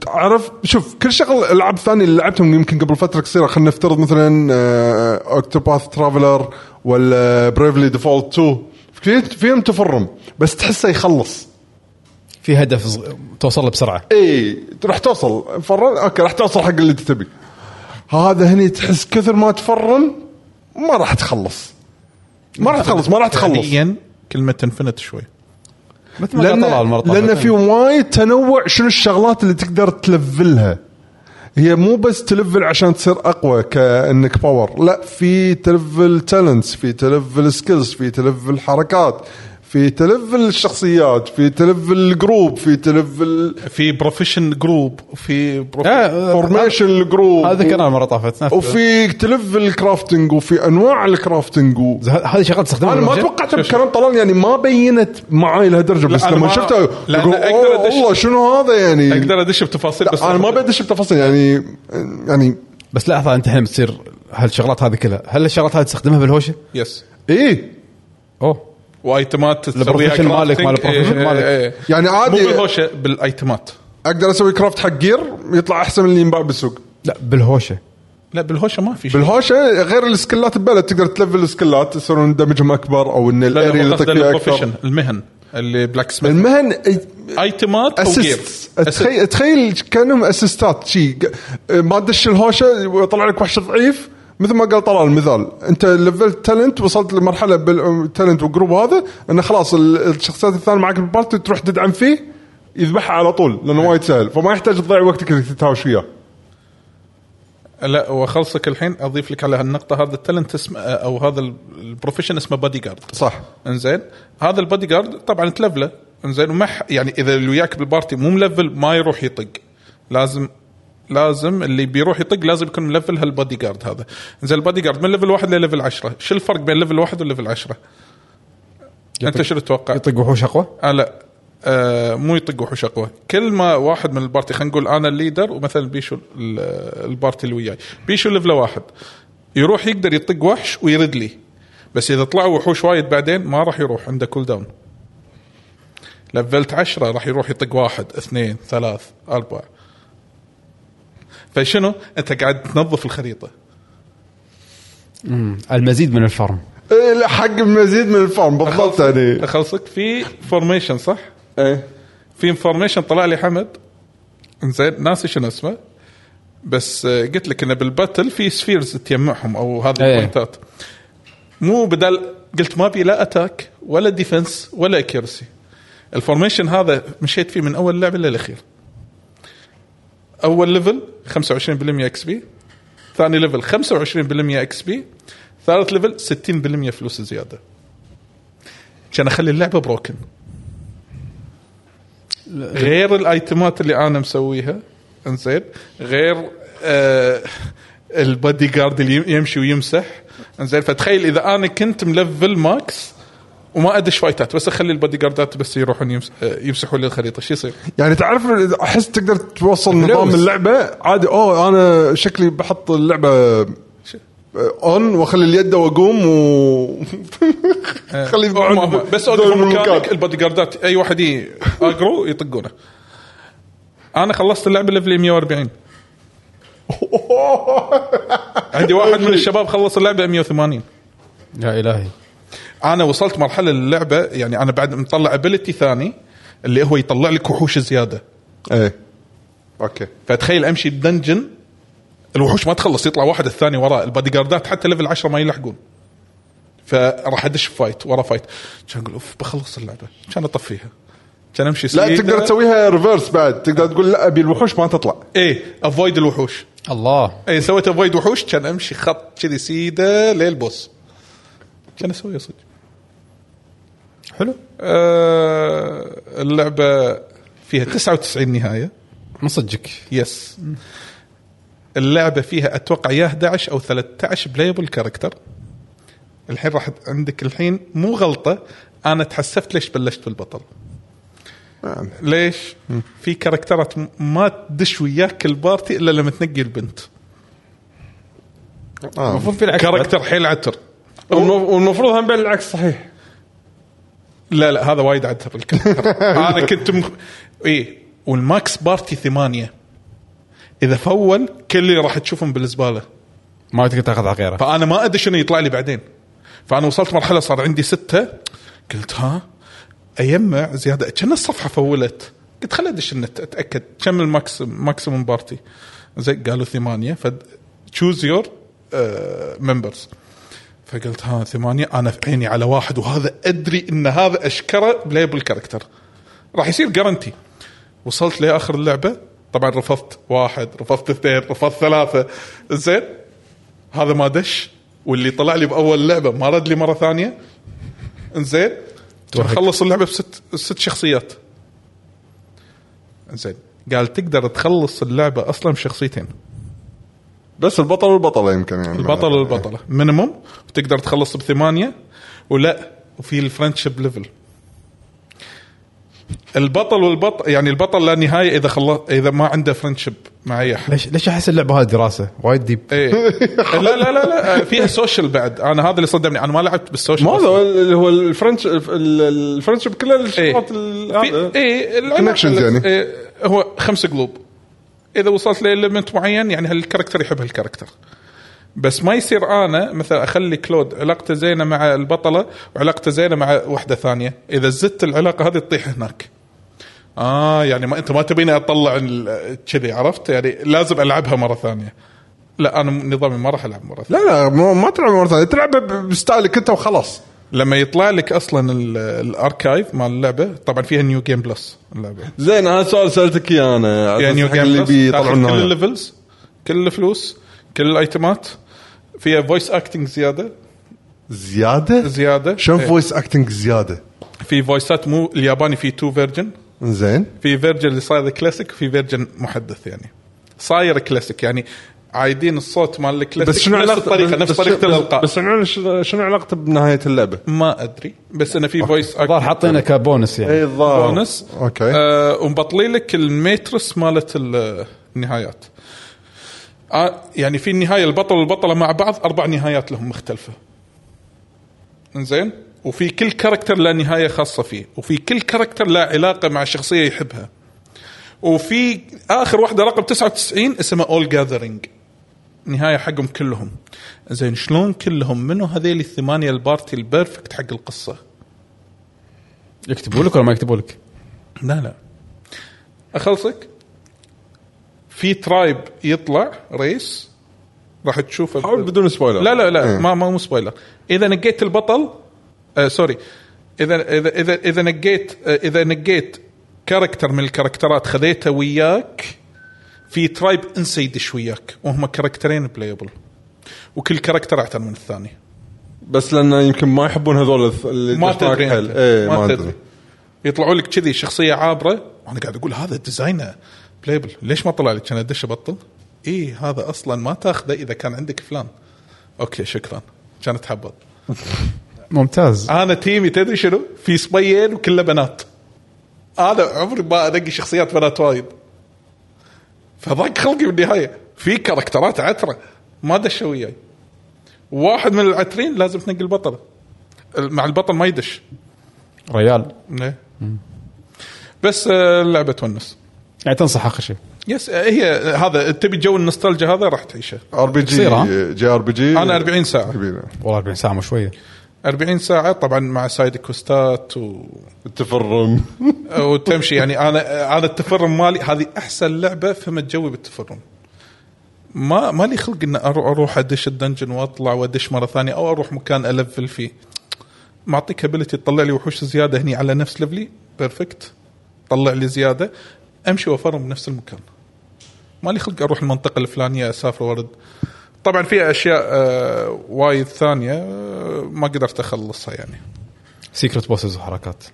B: تعرف شوف كل شغل العاب ثانيه اللي لعبتهم يمكن قبل فتره قصيره خلينا نفترض مثلا اوكتوباث ترافلر ولا بريفلي ديفولت 2 في- فيهم تفرم بس تحسه يخلص
A: في هدف صغ- توصل له بسرعه
B: اي راح إيه، توصل فرن اوكي راح توصل حق اللي أنت تبي هذا هني تحس كثر ما تفرم ما راح تخلص ما راح تخلص
A: يعني
B: ما راح تخلص
C: فعليا كلمه انفنت شوي
A: مثل ما قال
B: لان
A: طلال مرة
B: لان
A: طافت. يعني.
B: في وايد تنوع شنو الشغلات اللي تقدر تلفلها هي مو بس تلفل عشان تصير اقوى كانك باور لا في تلفل تالنتس في تلفل سكيلز في تلفل حركات في تلفل الشخصيات في تلفل الجروب في تلفل
C: في بروفيشن جروب في
B: إيه.
A: آه،
B: فورميشن الجروب
A: هذا ذكرناه المره طافت نفس-
B: وفي تلفل الكرافتنج وفي انواع الكرافتنج و...
A: ه- هذه شغله تستخدمها
B: انا ما
A: بالمجال؟
B: توقعت بكلام طلال يعني ما بينت معاي لهالدرجه بس
C: أنا
B: لما
C: ما-
B: شفتها
C: لأن
B: يقول
C: أقدر
B: "أوه،
C: أدش-
B: والله شنو هذا يعني
C: اقدر ادش بتفاصيل بس
B: لا، انا ما بدش بتفاصيل يعني يعني
A: بس لحظه انت الحين بتصير هالشغلات هذه كلها هل الشغلات هذه تستخدمها بالهوشه؟
C: يس
B: ايه
A: اوه
C: وايتمات تسويها
A: البروفيشن مالك،
C: crafting.
A: مال البروفيشن
C: إيه،
A: مالك.
C: إيه، إيه.
B: يعني عادي-
C: مو بالهوشه بالايتمات
B: اقدر اسوي كرافت حق جير يطلع احسن من اللي ينباع بالسوق
A: لا بالهوشه
C: لا بالهوشه ما في شيء
B: بالهوشه غير السكلات ببلد تقدر تلفل السكلات يصيرون دمجهم اكبر او ان
C: لا، لا،
B: الاري
C: هو
B: اللي
C: قصده
B: تطق فيه
C: البروفيشن
B: اكثر
C: المهن اللي بلاك سميث
B: المهن
C: ايتمات او جير
B: اسيست تخيل تخيل كانهم اسيستات شي ما تدش الهوشه ويطلع لك وحش ضعيف مثل ما قال طلال المثال انت لفلت تالنت وصلت لمرحله بالتالنت والجروب هذا انه خلاص ال- الشخصيات الثانيه معك بالبارتي تروح تدعم فيه يذبحها على طول لانه وايد سهل فما يحتاج تضيع وقتك انك تتهاوش وياه
C: لا واخلصك الحين اضيف لك على هالنقطه هذا التالنت اسمه او هذا ال- البروفيشن اسمه بادي جارد
B: صح
C: انزين هذا البادي جارد طبعا تلفله انزين وما ح- يعني اذا اللي وياك بالبارتي مو ملفل ما يروح يطق لازم لازم اللي بيروح يطق لازم يكون ملفل هالبادي جارد هذا انزين البادي جارد من ليفل واحد لليفل 10 شو الفرق بين ليفل واحد وليفل 10 انت شو تتوقع؟
A: يطق وحوش اقوى
C: آه لا آه مو يطق وحوش اقوى كل ما واحد من البارتي خلينا نقول انا الليدر ومثلا بيشو ال- البارتي اللي وياي بيشو ليفله واحد يروح يقدر يطق وحش ويرد لي بس اذا طلعوا وحوش وايد بعدين ما راح يروح عنده كول داون لفلت عشرة راح يروح يطق واحد اثنين ثلاث اربع فشنو انت قاعد تنظف الخريطه
A: المزيد من الفرم
B: إيه، حق مزيد من الفارم بالضبط يعني
C: اخلصك في فورميشن صح؟
B: إيه.
C: في انفورميشن طلع لي حمد زين ناسي شنو اسمه بس آه، قلت لك انه بالباتل في سفيرز تجمعهم او هذه
A: إيه.
C: البوينتات مو بدل قلت ما بي لا اتاك ولا ديفنس ولا اكيرسي الفورميشن هذا مشيت فيه من اول لعبه للاخير اول ليفل 25% اكس بي ثاني ليفل 25% اكس بي ثالث ليفل 60% فلوس زياده عشان اخلي اللعبه بروكن غير الايتمات اللي انا مسويها انزين غير آه البادي جارد اللي يم- يمشي ويمسح انزين فتخيل اذا انا كنت ملفل ماكس وما ادش فايتات بس اخلي البادي جاردات بس يروحون يمس... آه، يمسحوا لي الخريطه شو يصير؟
B: يعني تعرف احس تقدر توصل نظام
A: فلوس.
B: اللعبه عادي اوه انا شكلي بحط اللعبه اون واخلي اليد واقوم و خلي
C: ما- ما- بس اوقف مكانك البادي جاردات اي واحد ي- اجرو يطقونه انا خلصت اللعبه ليفل 140 عندي واحد من الشباب خلص اللعبه 180
A: يا الهي
C: انا وصلت مرحله اللعبه يعني انا بعد مطلع ابيلتي ثاني اللي هو يطلع لك وحوش زياده
B: ايه اوكي
C: فتخيل امشي بدنجن الوحوش ما تخلص يطلع واحد الثاني وراه البادي جاردات حتى ليفل 10 ما يلحقون فراح ادش فايت ورا فايت كان اقول اوف بخلص اللعبه كان اطفيها كان امشي
B: لا
C: سيدة.
B: تقدر تسويها ريفرس بعد تقدر تقول لا ابي الوحوش ما تطلع
C: ايه افويد الوحوش
A: الله
C: اي إيه، سويت افويد وحوش كان امشي خط كذي سيده للبوس كان اسويها صدق
A: حلو
C: آه اللعبه فيها 99 نهايه
A: من صدقك
C: يس اللعبه فيها اتوقع يا 11 او 13 بلايبل كاركتر الحين راح عندك الحين مو غلطه انا تحسفت ليش بلشت بالبطل ليش؟ في كاركترات م- ما تدش وياك البارتي الا لما تنقي البنت
B: آه.
A: المفروض في العكس
C: كاركتر حيل عتر
B: والمفروض هم بالعكس صحيح
C: لا لا هذا وايد عتر الكاركتر انا كنت مخ... ايه والماكس بارتي ثمانيه اذا فول كل اللي راح تشوفهم بالزباله
A: ما تقدر تاخذ على غيره
C: فانا ما ادري شنو يطلع لي بعدين فانا وصلت مرحله صار عندي سته قلت ها اجمع زياده كان الصفحه فولت قلت خل ادش النت اتاكد كم الماكس ماكسيموم بارتي زين قالوا ثمانيه ف تشوز يور ممبرز فقلت ها ثمانيه انا في عيني على واحد وهذا ادري ان هذا اشكره بليبل كاركتر راح يصير جارنتي وصلت لاخر اللعبه طبعا رفضت واحد رفضت اثنين رفضت ثلاثه زين هذا ما دش واللي طلع لي باول لعبه ما رد لي مره ثانيه انزين خلص اللعبه بست ست شخصيات انزين قال تقدر تخلص اللعبه اصلا بشخصيتين
B: بس البطل والبطله يمكن يعني
C: البطل والبطله مينيموم وتقدر تخلص بثمانيه ولا وفي الفرنشيب ليفل البطل والبطل يعني البطل لا نهايه اذا خلص اذا ما عنده فرنشيب مع اي احد
A: ليش ليش احس اللعبه هذه دراسه وايد ديب
C: ايه لا لا لا لا آه، فيها سوشيال بعد انا هذا اللي صدمني انا ما لعبت بالسوشيال
B: ما
C: أصلاً.
B: هذا اللي هو الفرنش الفرنشيب كله الشغلات
C: إيه. في
B: إيه.
C: ايه العناق-
B: Connections يعني.
C: إيه هو خمس قلوب اذا وصلت لاليمنت معين يعني هالكاركتر يحب هالكاركتر بس ما يصير انا مثلا اخلي كلود علاقته زينه مع البطله وعلاقته زينه مع واحده ثانيه اذا زدت العلاقه هذه تطيح هناك اه يعني ما انت ما تبيني اطلع ال- كذي عرفت يعني لازم العبها مره ثانيه لا انا نظامي ما راح العب مره ثانيه
B: لا لا مو- ما تلعب مره ثانيه تلعب ب- بستايلك انت وخلاص
C: لما يطلع لك اصلا ال- الاركايف مال اللعبه طبعا فيها نيو جيم بلس اللعبه
B: زين هذا السؤال سالتك اياه انا
C: فيها نيو
B: حق
C: جيم
B: اللي
C: بلس
B: بيطلعون
C: تاخذ كل
B: هاي.
C: الليفلز كل الفلوس كل الايتمات فيها فويس اكتنج زياده
B: زياده
C: زياده
B: شلون
C: إيه.
B: فويس اكتنج زياده
C: في فويسات مو الياباني في تو فيرجن
B: زين
C: في فيرجن اللي صاير كلاسيك وفي فيرجن محدث يعني صاير كلاسيك يعني عايدين الصوت مال الكلاسيك
B: بس شنو
C: نفس
B: علاقه
C: الطريقه نفس
B: بس-
C: طريقه
B: بس-
C: الالقاء
B: بس شنو شنو علاقته بنهايه اللعبه؟
C: ما ادري بس انه في فويس
A: الظاهر
C: اكتنج
A: حاطينه كبونس يعني
B: اي
C: إيه.
B: الظاهر
C: بونس
B: اوكي
C: آه ومبطلين لك الميترس مالت ال- النهايات آه يعني في النهايه البطل والبطله مع بعض اربع نهايات لهم مختلفه زين وفي كل كاركتر له نهايه خاصه فيه وفي كل كاركتر له علاقه مع شخصيه يحبها وفي اخر واحده رقم 99 اسمها اول جاذرينج نهايه حقهم كلهم زين شلون كلهم منو هذيل الثمانيه البارتي البيرفكت حق القصه
A: يكتبوا لك ولا ما يكتبوا لك؟
C: لا لا اخلصك في ترايب يطلع رئيس راح تشوفه
B: حاول بدون سبويلر
C: لا لا لا
B: إيه.
C: ما ما مو سبويلر اذا نقيت البطل آه سوري اذا اذا اذا اذا نقيت آه اذا نقيت كاركتر من الكاركترات خذيته وياك في ترايب انسى يدش وياك وهم كاركترين بلايبل وكل كاركتر اعتر من الثاني
B: بس لانه يمكن ما يحبون هذول الث- اللي
C: ما
B: دش معك
C: تدري
B: حيل.
C: أنت.
B: ايه
C: إيه، ما
B: ما
C: تدري
B: ادري
C: يطلعوا لك كذي شخصيه عابره وانا قاعد اقول هذا ديزاينه بلايبل ليش ما طلع لك انا ادش ابطل؟ اي إيه، هذا اصلا ما تاخذه اذا كان عندك فلان اوكي شكرا كان تحبط
A: ممتاز
C: انا تيمي تدري شنو؟ في صبيين وكله بنات انا عمري ما انقي شخصيات بنات وايد فضاق خلقي بالنهايه في كاركترات عتره ما دشوا وياي واحد من العترين لازم تنقي البطل مع البطل ما يدش
A: ريال
C: إيه. بس آه، اللعبه تونس
A: يعني تنصح اخر شيء
C: يس آه، هي هذا تبي جو النوستالجيا هذا راح تعيشه
B: ار بي جي
A: قصير، ها؟
B: جي ار بي جي
C: أنا 40 ساعة.
B: كبيرة
A: والله 40 ساعه مو شويه
C: 40 ساعه طبعا مع سايد كوستات و...
B: تفرم
C: وتمشي يعني انا آه، انا التفرم مالي هذه احسن لعبه فهمت جوي بالتفرم ما ما لي خلق ان أرو- اروح ادش الدنجن واطلع وادش مره ثانيه او اروح مكان الفل فيه معطيك ابيلتي تطلع لي وحوش زياده هني على نفس ليفلي بيرفكت طلع لي زياده امشي وافرم بنفس المكان ما لي خلق اروح المنطقه الفلانيه اسافر وارد طبعا في اشياء آه، وايد ثانيه آه، ما قدرت اخلصها يعني
A: سيكرت بوسز وحركات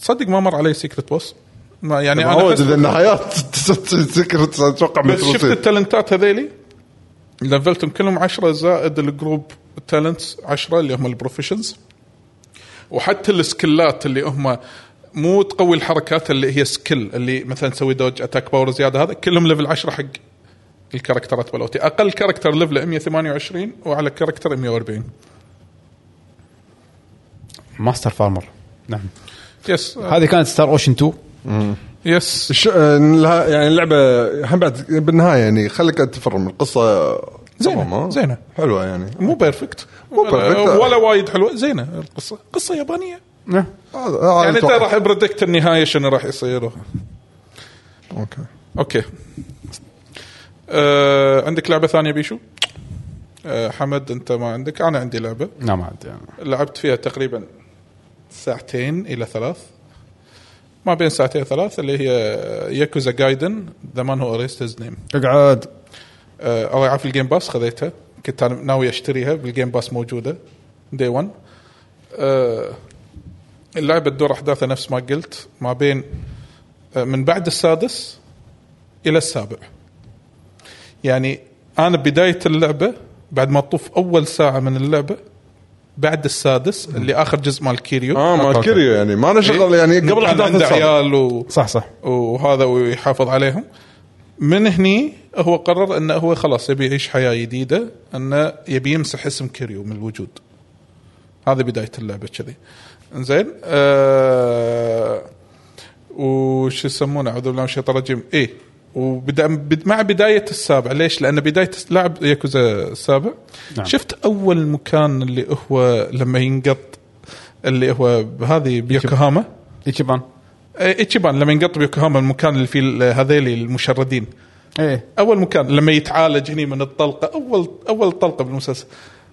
C: تصدق ما مر علي سيكرت بوس ما يعني انا
B: معود
C: أحس-
B: اذا ان حياه سكرت اتوقع
C: بس شفت
B: متروسي
C: التالنتات هذيلي لفلتهم كلهم 10 زائد الجروب تالنتس 10 اللي هم البروفيشنز وحتى السكلات اللي هم مو تقوي الحركات اللي هي سكيل اللي مثلا تسوي دوج اتاك باور زياده هذا كلهم ليفل 10 حق الكاركترات بلوتي اقل كاركتر ليفله 128 واعلى كاركتر 140
A: ماستر فارمر نعم
C: يس
A: هذه كانت ستار اوشن 2
C: يس
B: ش- آه، لها- يعني اللعبه هم بعد بالنهايه يعني خليك تفرم القصه
C: زينة،
B: تمام، ها؟
C: زينة.
B: حلوه يعني
C: مو بيرفكت
B: مو بيرفكت.
C: ولا, ولا وايد حلوه زينه القصه قصه يابانيه
A: نعم
B: هذا- هذا
C: يعني انت
B: أتوقع.
C: راح بريدكت النهايه شنو راح يصير
B: اوكي
C: اوكي آه، عندك لعبه ثانيه بيشو آه، حمد انت ما عندك انا عندي لعبه
A: نعم عاد
C: لعبت فيها تقريبا ساعتين الى ثلاث ما بين ساعتين وثلاث اللي هي ياكوزا جايدن ذا مان هو اريست هيز نيم
A: اقعد
C: الله يعافي الجيم باس خذيتها كنت انا ناوي اشتريها بالجيم باس موجوده دي 1 آه، اللعبه تدور احداثها نفس ما قلت ما بين آه، من بعد السادس الى السابع يعني انا بدايه اللعبه بعد ما اطوف اول ساعه من اللعبه بعد السادس اللي اخر جزء مال كيريو
B: اه مال كيريو يعني ما انا شغل
A: إيه،
B: يعني قبل
C: كان
B: احداث
C: عنده
B: السابقة.
C: عيال و...
A: صح صح
C: وهذا ويحافظ عليهم من هني هو قرر انه هو خلاص يبي يعيش حياه جديده انه يبي يمسح اسم كيريو من الوجود هذه بدايه اللعبه كذي زين آه وش يسمونه اعوذ بالله من الشيطان الرجيم اي وبدا بد- مع بدايه السابع ليش؟ لان بدايه لعب ياكوزا السابع
A: نعم.
C: نعم. شفت اول مكان اللي هو لما ينقط اللي هو هذه بيوكوهاما
A: ايتشيبان
C: إيه، ايتشيبان لما ينقط بيوكوهاما المكان اللي فيه ال- هذيلي المشردين
A: ايه
C: اول مكان لما يتعالج هني من الطلقه اول اول طلقه بالمسلسل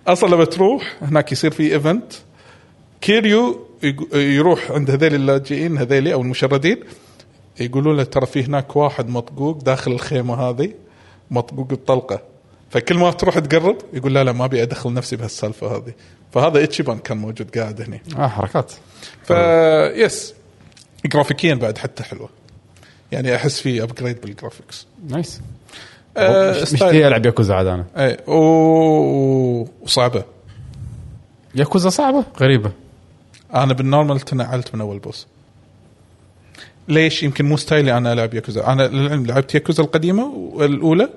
C: اصلا لما تروح هناك يصير في ايفنت كيريو يق- يروح عند هذيل اللاجئين هذيلي او المشردين يقولوا له ترى في هناك واحد مطقوق داخل الخيمه هذه مطقوق بطلقه فكل ما تروح تقرب يقول لا لا ما ابي ادخل نفسي بهالسالفه هذه فهذا اتشيبان كان موجود قاعد هنا
A: اه حركات
C: ف يس جرافيكيا بعد حتى حلوه يعني احس في ابجريد بالجرافيكس
A: نايس
C: آه، إيه.
A: مش-
C: ستايل.
A: مشتهي العب ياكوزا عاد انا
C: اي و- وصعبه
A: ياكوزا صعبه غريبه
C: انا بالنورمال تنعلت من اول بوس ليش يمكن مو ستايلي انا العب ياكوزا انا للعلم لعبت ياكوزا القديمه والاولى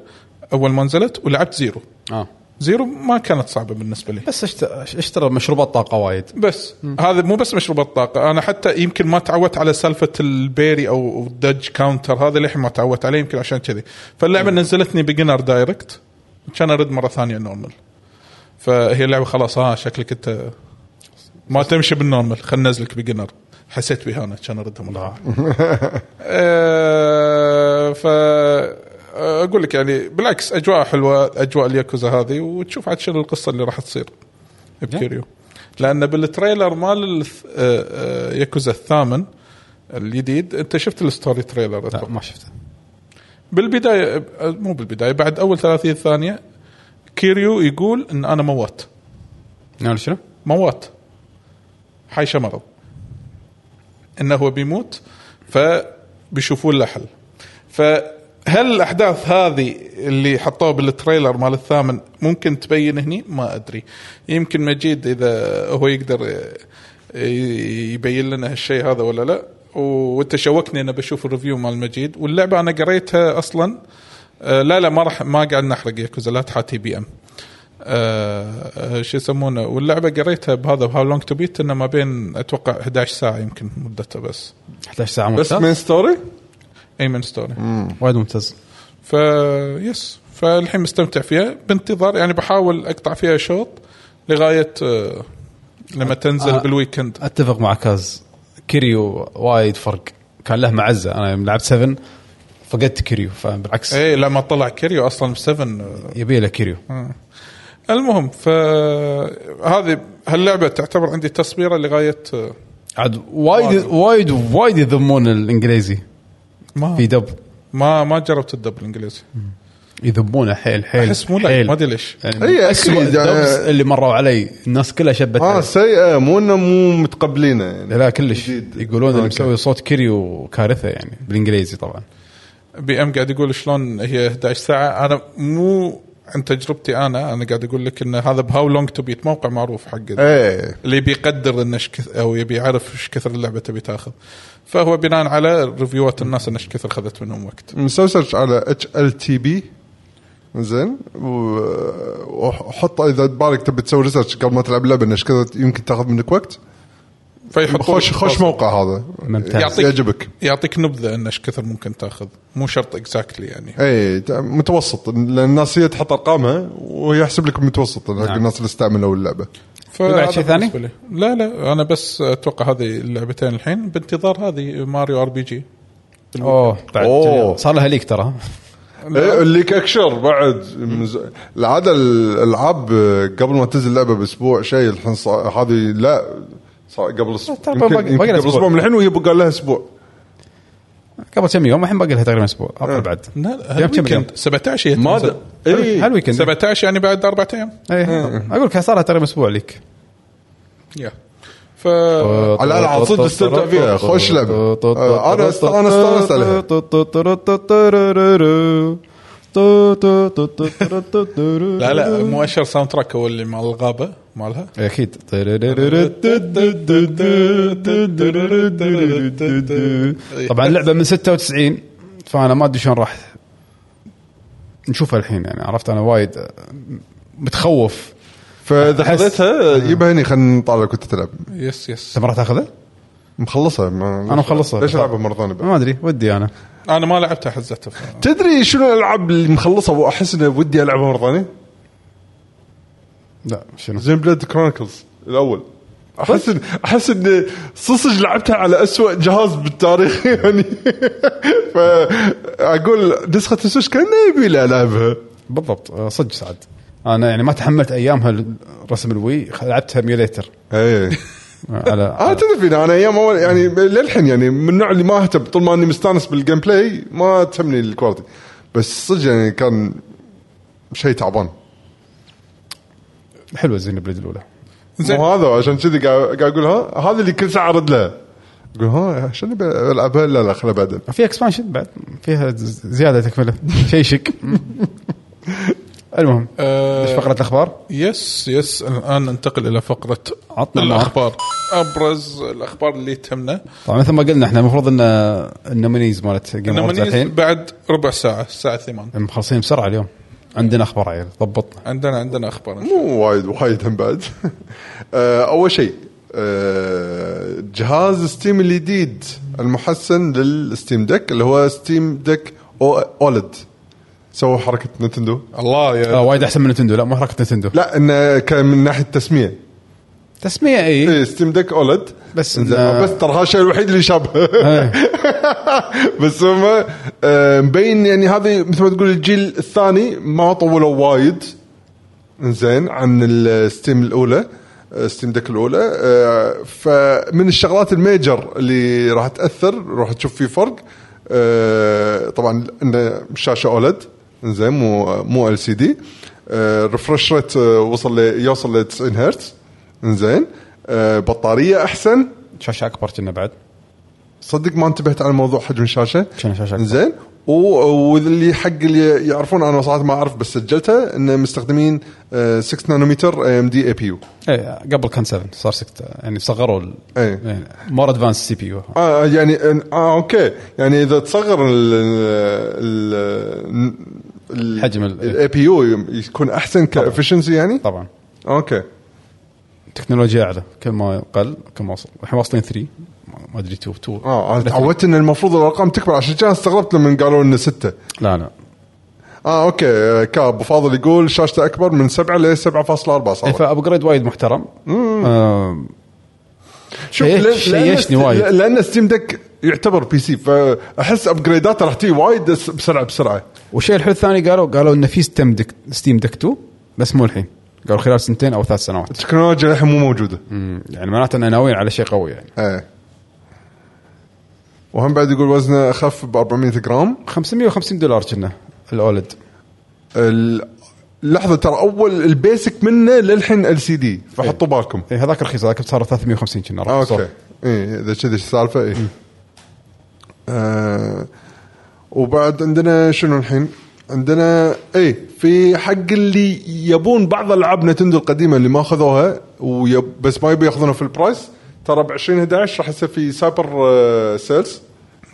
C: اول ما نزلت ولعبت زيرو
A: اه
C: زيرو ما كانت صعبه بالنسبه لي
A: بس اشت- اشترى مشروبات طاقه وايد
C: بس هذا مو بس مشروبات طاقه انا حتى يمكن ما تعودت على سالفه البيري او الدج كاونتر هذا للحين ما تعودت عليه يمكن عشان كذي فاللعبه نزلتني بيجنر دايركت كان ارد مره ثانيه نورمال فهي اللعبه خلاص ها شكلك انت ما تمشي بالنورمال خلينا ننزلك بيجنر حسيت بها انا كان اردها مره ثانية. آه، ف اقول لك يعني بالعكس اجواء حلوه اجواء الياكوزا هذه وتشوف عاد شنو القصه اللي راح تصير بكيريو لان بالتريلر مال الث- آه، آه، ياكوزا الثامن الجديد انت شفت الستوري تريلر
A: لا
C: أتوقع.
A: ما شفته
C: بالبدايه آه، مو بالبدايه بعد اول 30 ثانيه كيريو يقول ان انا موات
A: نعم شنو؟
C: موات حيشه مرض انه هو بيموت فبيشوفون له حل فهل الاحداث هذه اللي حطوها بالتريلر مال الثامن ممكن تبين هني ما ادري يمكن مجيد اذا هو يقدر ي- يبين لنا هالشيء هذا ولا لا و- وانت شوقتني انا بشوف الريفيو مال مجيد واللعبه انا قريتها اصلا آه، لا لا ما راح ما قاعد نحرق ياكوزا لا تحاتي بي ام آه، آه، شو يسمونه واللعبه قريتها بهذا هاو لونج تو بيت انه ما بين اتوقع 11 ساعه يمكن مدتها بس
A: 11 ساعه
B: بس
A: ممتاز
B: من ستوري
A: إيه.
C: اي من ستوري
A: وايد ممتاز
C: ف يس فالحين مستمتع فيها بانتظار يعني بحاول اقطع فيها شوط لغايه آه، لما تنزل
A: آه.
C: بالويكند
A: اتفق مع كاز كيريو وايد فرق كان له معزه انا يوم لعبت 7 فقدت كيريو فبالعكس
C: اي لما إيه، طلع كيريو اصلا ب 7
A: يبي له كيريو
C: المهم فهذه هاللعبه تعتبر عندي تصبيره لغايه آه،
A: عاد وايد وايد وايد يذمون الانجليزي في
C: ما
A: دب
C: ما ما جربت الدب الانجليزي
A: يذمونه حيل حيل
C: احس مو لايق،
A: حيل.
C: ما ادري ليش
A: يعني من
B: إيه،
A: أسوأ
B: أكيد.
A: الدبس
B: آه.
A: اللي مروا علي الناس كلها شبت
B: اه
A: عليه.
B: سيئه مو انه مو متقبلينه يعني
A: لا كلش
B: جديد.
A: يقولون اللي
B: أوكي.
A: مسوي صوت كيريو كارثه يعني بالانجليزي طبعا
C: بي ام قاعد يقول شلون هي 11 ساعه انا مو عن تجربتي انا انا قاعد اقول لك ان هذا بهاو لونج تو بيت موقع معروف حق ال-
B: ايه
C: اللي بيقدر انه ايش كث- او يبي يعرف ايش كثر اللعبه تبي تاخذ فهو بناء على ريفيوات الناس انه ايش كثر اخذت منهم وقت
B: مسوي سيرش على اتش ال تي بي زين و- وحط اذا بالك تبي تسوي ريسيرش قبل ما تلعب لعبه إن ايش كذا يمكن تاخذ منك وقت
C: فيحط
B: خوش خوش موقع هذا
A: ممتاز.
B: يعطيك- يعجبك
C: يعطيك نبذه انه ايش كثر ممكن تاخذ مو شرط اكزاكتلي يعني
B: اي تع- إيه، متوسط لان الناس هي تحط ارقامها ويحسب لك المتوسط حق
A: نعم.
B: الناس اللي استعملوا اللعبه
C: فهذا
A: بعد شيء ثاني؟
C: بالنسبة لي. لا لا انا بس اتوقع هذه اللعبتين الحين بانتظار هذه ماريو ار بي جي
A: اوه بعد
B: أوه.
A: صار لها ليك ترى
B: إيه اللي كاكشر بعد مز... العاده الالعاب قبل ما تنزل لعبه باسبوع شيء الحين صا- هذه لا صار قبل اسبوع
A: طبعاً
B: يمكن-
A: باقي-
B: يمكن
A: باقي
B: قبل
A: أسبوع.
B: اسبوع من الحين وهي قال لها اسبوع
A: قبل كم يوم الحين باقي لها تقريبا اسبوع اقل بعد
C: إيه. لا
A: يوم كم يوم؟
C: الويكند 17 هي تنزل.
B: اي
A: هالويكند
C: 17 يعني بعد اربع ايام
A: ايه اقول لك صار لها تقريبا اسبوع ليك
C: يا ف لا
B: على الألعاب صدق استمتع فيها، خوش لعبة. آه، أنا است- أنا استانست عليها.
A: لا
C: لا مؤشر ساوند تراك هو اللي مال الغابه مالها
A: اكيد طبعا اللعبه من 96 فانا ما ادري شلون راح نشوفها الحين يعني عرفت انا وايد متخوف
B: فاذا
A: أحس-
B: حليتها يبها هني خلينا نطالع كنت تلعب
C: يس يس
A: انت ما راح تاخذها؟
B: مخلصها ما...
A: أنا مخلصها.
B: ليش العبها مره ثانيه بعد؟
A: ما ادري ودي انا
C: انا ما لعبتها حزتها ف-
B: تدري شنو الالعاب اللي مخلصها واحس انه ودي العبها مره ثانيه؟
A: لا شنو
B: زين بلاد كرونيكلز الاول احس ان احس ان صصج لعبتها على أسوأ جهاز بالتاريخ يعني فاقول نسخه السويتش كان يبي لي العبها
A: بالضبط آه، صدق سعد انا يعني ما تحملت ايامها ال- رسم الوي خ- لعبتها ميوليتر آه،
B: ايه
A: على,
B: انا
A: على
B: آه، تدري فيني، انا ايام اول يعني للحين يعني من النوع اللي ما اهتم طول ما اني مستانس بالجيم بلاي ما تهمني الكواليتي بس صدق يعني كان شيء تعبان
A: حلوه زين بليد الاولى
C: زين.
B: مو هذا عشان كذي قاعد قاعد اقول ها هذا اللي كل ساعه ارد له اقول ها عشان أبي العبها لا لا خلها بعدين
A: في اكسبانشن بعد فيها ز- زياده تكمله شيء شيك المهم
C: آه،
A: ايش فقره الاخبار؟
C: يس يس الان ننتقل الى فقره
A: عطنا النار.
C: الاخبار ابرز الاخبار اللي تهمنا
A: طبعا مثل ما قلنا احنا المفروض ان النومينيز مالت جيم اووردز
C: النومينيز
A: الحين
C: بعد ربع ساعه الساعه 8
A: مخلصين بسرعه اليوم عندنا اخبار عيل ضبطنا
C: عندنا عندنا اخبار إن شاء
B: مو وايد وايد هم بعد آه، اول شيء آه، جهاز ستيم الجديد المحسن للستيم ديك اللي هو ستيم ديك اولد سووا حركه نتندو
C: الله. الله
A: آه
C: يا
A: وايد احسن من نتندو لا مو حركه نتندو
B: لا انه كان من ناحيه تسميه
A: تسميه اي
B: ايه ستيم ديك اولد
A: بس
B: إنزين،
A: إنه-
B: بس ترى هذا الشيء الوحيد اللي شابه بس هم آه، مبين يعني هذه مثل ما تقول الجيل الثاني ما طولوا وايد زين عن الستيم الاولى ستيم ديك الاولى آه، فمن الشغلات الميجر اللي راح تاثر راح تشوف في فرق آه، طبعا انه شاشه اولد زين مو مو ال سي دي ريفرش ريت آه، وصل ل- يوصل ل 90 هرتز زين آه، بطاريه احسن
A: شاشه اكبر كنا بعد
B: صدق ما انتبهت على موضوع حجم الشاشه
A: شنو الشاشة أكبر؟
B: زين و- واللي حق اللي يعرفون انا صراحه ما اعرف بس سجلته ان مستخدمين آه، 6 نانومتر ام دي اي بي يو
A: ايه قبل كان 7 صار 6 يعني صغروا ال...
B: إيه.
A: يعني مور ادفانس سي بي يو
B: اه يعني إن- اه اوكي يعني اذا تصغر ال ال- ال
A: حجم ال-
B: الاي بي يو يكون احسن كافشنسي يعني
A: طبعا
B: اوكي
A: تكنولوجيا اعلى كل ما قل كل ما وصل الحين واصلين 3 ما- ما ادري 2 2
B: اه انا تعودت ان المفروض الارقام تكبر عشان كذا استغربت لما قالوا انه 6
A: لا لا
B: اه اوكي آه، كاب فاضل يقول شاشته اكبر من 7 ل 7.4
A: إيه،
B: صارت
A: فابجريد وايد محترم آه
B: شوف
A: شيش-
B: لأن-
A: شيشني
B: لأن-
A: وايد.
B: لان ستيم دك يعتبر بي سي فاحس ابجريداته راح تجي وايد بس- بسرعه بسرعه
A: والشيء الحلو الثاني قالوا قالوا انه في ستيم دك ستيم دك 2 بس مو الحين قالوا خلال سنتين او ثلاث سنوات
B: التكنولوجيا للحين مو موجوده
A: مم. يعني معناته انه ناويين على شيء قوي يعني
B: ايه وهم بعد يقول وزنه اخف ب 400 جرام
A: 550 دولار كنا الاولد
B: ال- لحظه ترى اول البيسك منه للحين ال سي دي فحطوا بالكم
A: إيه هذاك رخيص هذاك صار 350 كنا
B: اوكي اي اذا كذي السالفه اي آه وبعد عندنا شنو الحين؟ عندنا اي في حق اللي يبون بعض العاب نتندو القديمه اللي ما اخذوها ويب بس ما يبي ياخذونها في البرايس ترى ب 2011 راح يصير في سايبر آه سيلز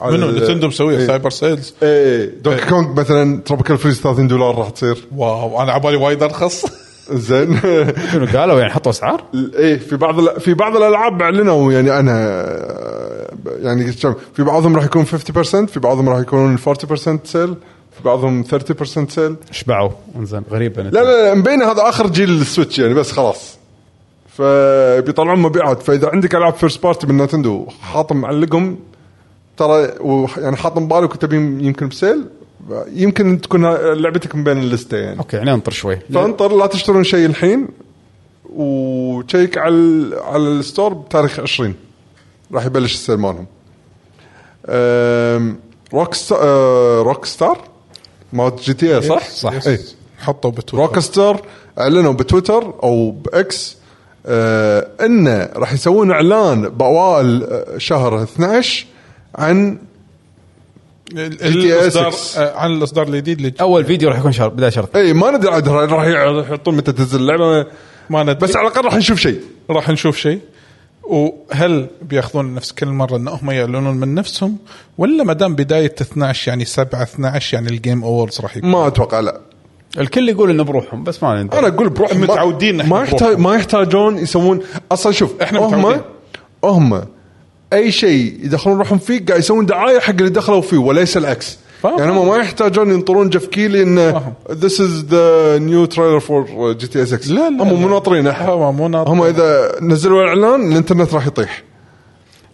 B: على
C: منو
B: ال-
C: نتندو مسويه
B: إيه.
C: سايبر سيلز
B: اي دونكي كونج مثلا تروبيكال فريز 30 دولار راح تصير
C: واو انا عبالي وايد ارخص
B: زين
A: شنو قالوا يعني حطوا اسعار؟
B: ايه في بعض ال- في بعض الالعاب اعلنوا يعني انا يعني كم- في بعضهم راح يكون 50% في بعضهم راح يكون 40% سيل في بعضهم 30% سيل
A: شبعوا انزين غريبه
B: لا لا لا مبينه هذا اخر جيل السويتش يعني بس خلاص فبيطلعون مبيعات فاذا عندك العاب فيرست بارتي من نتندو حاطم معلقهم ترى وح- يعني حاطم بالك وتبي يمكن بسيل يمكن تكون ه- لعبتك من بين اللسته يعني
A: اوكي يعني انطر شوي
B: فانطر طيب لا تشترون شيء الحين وتشيك على ال- على الستور بتاريخ 20 راح يبلش السيل مالهم أم، روك ست- أه، روك ستار مال جي تي اي صح؟
A: صح.
B: إيه.
C: حطوا بتويتر
B: روك ستار اعلنوا بتويتر او باكس آه انه راح يسوون اعلان باوائل آه، شهر 12 عن
C: ال-
B: GTA
C: الاصدار
B: 6.
C: آه، عن الاصدار الجديد اللي
A: اول فيديو راح يكون شهر بدايه شهر اثنين.
B: اي إيه، ما ندري عاد راح يحطون متى تنزل اللعبه
C: ما ندري
B: بس على الاقل راح نشوف شيء
C: راح نشوف شيء وهل بياخذون نفس كل مره ان هم يعلنون من نفسهم ولا ما دام بدايه 12 يعني 7 12 يعني الجيم اووردز راح يكون
B: ما اتوقع لا
A: الكل يقول انه بروحهم بس ما ندري
B: انا اقول بروح ما-
C: متعودين إحنا
B: ما يحتاج
C: بروحهم.
B: ما يحتاجون يسوون اصلا شوف
C: إحنا
B: هم
C: متعودين.
B: هم اي شيء يدخلون روحهم فيه قاعد يسوون دعايه حق اللي دخلوا فيه وليس العكس
C: فاهم.
B: يعني هم ما يحتاجون ينطرون جف كيلي انه
C: فاهم.
B: ذس از ذا نيو تريلر فور جي تي اس 6
C: لا، لا،
B: هم مو
C: لا.
B: ناطرين أحد.
C: هم مو ناطرين.
B: هم اذا نزلوا الاعلان الانترنت راح يطيح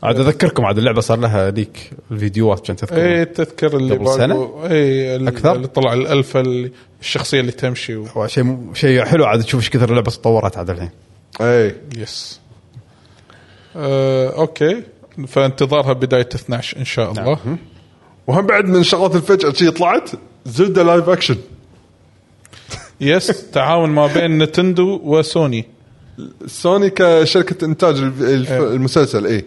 A: عاد اذكركم عاد اللعبه صار لها ليك الفيديوهات كان تذكر
B: إيه.
C: اي إيه، تذكر اللي
A: قبل سنة؟
C: اي
A: أكثر؟
C: اكثر اللي طلع الالفا اللي- الشخصيه اللي تمشي و...
A: شيء شيء حلو عاد تشوف ايش كثر اللعبه تطورت عاد الحين
B: اي
C: يس آه، اوكي فانتظارها بدايه 12 ان شاء الله
B: وهم بعد من شغلات الفجأة شي طلعت زلدة لايف اكشن
C: يس تعاون ما بين نتندو وسوني
B: سوني كشركة انتاج الف- الف-
C: إيه.
B: المسلسل اي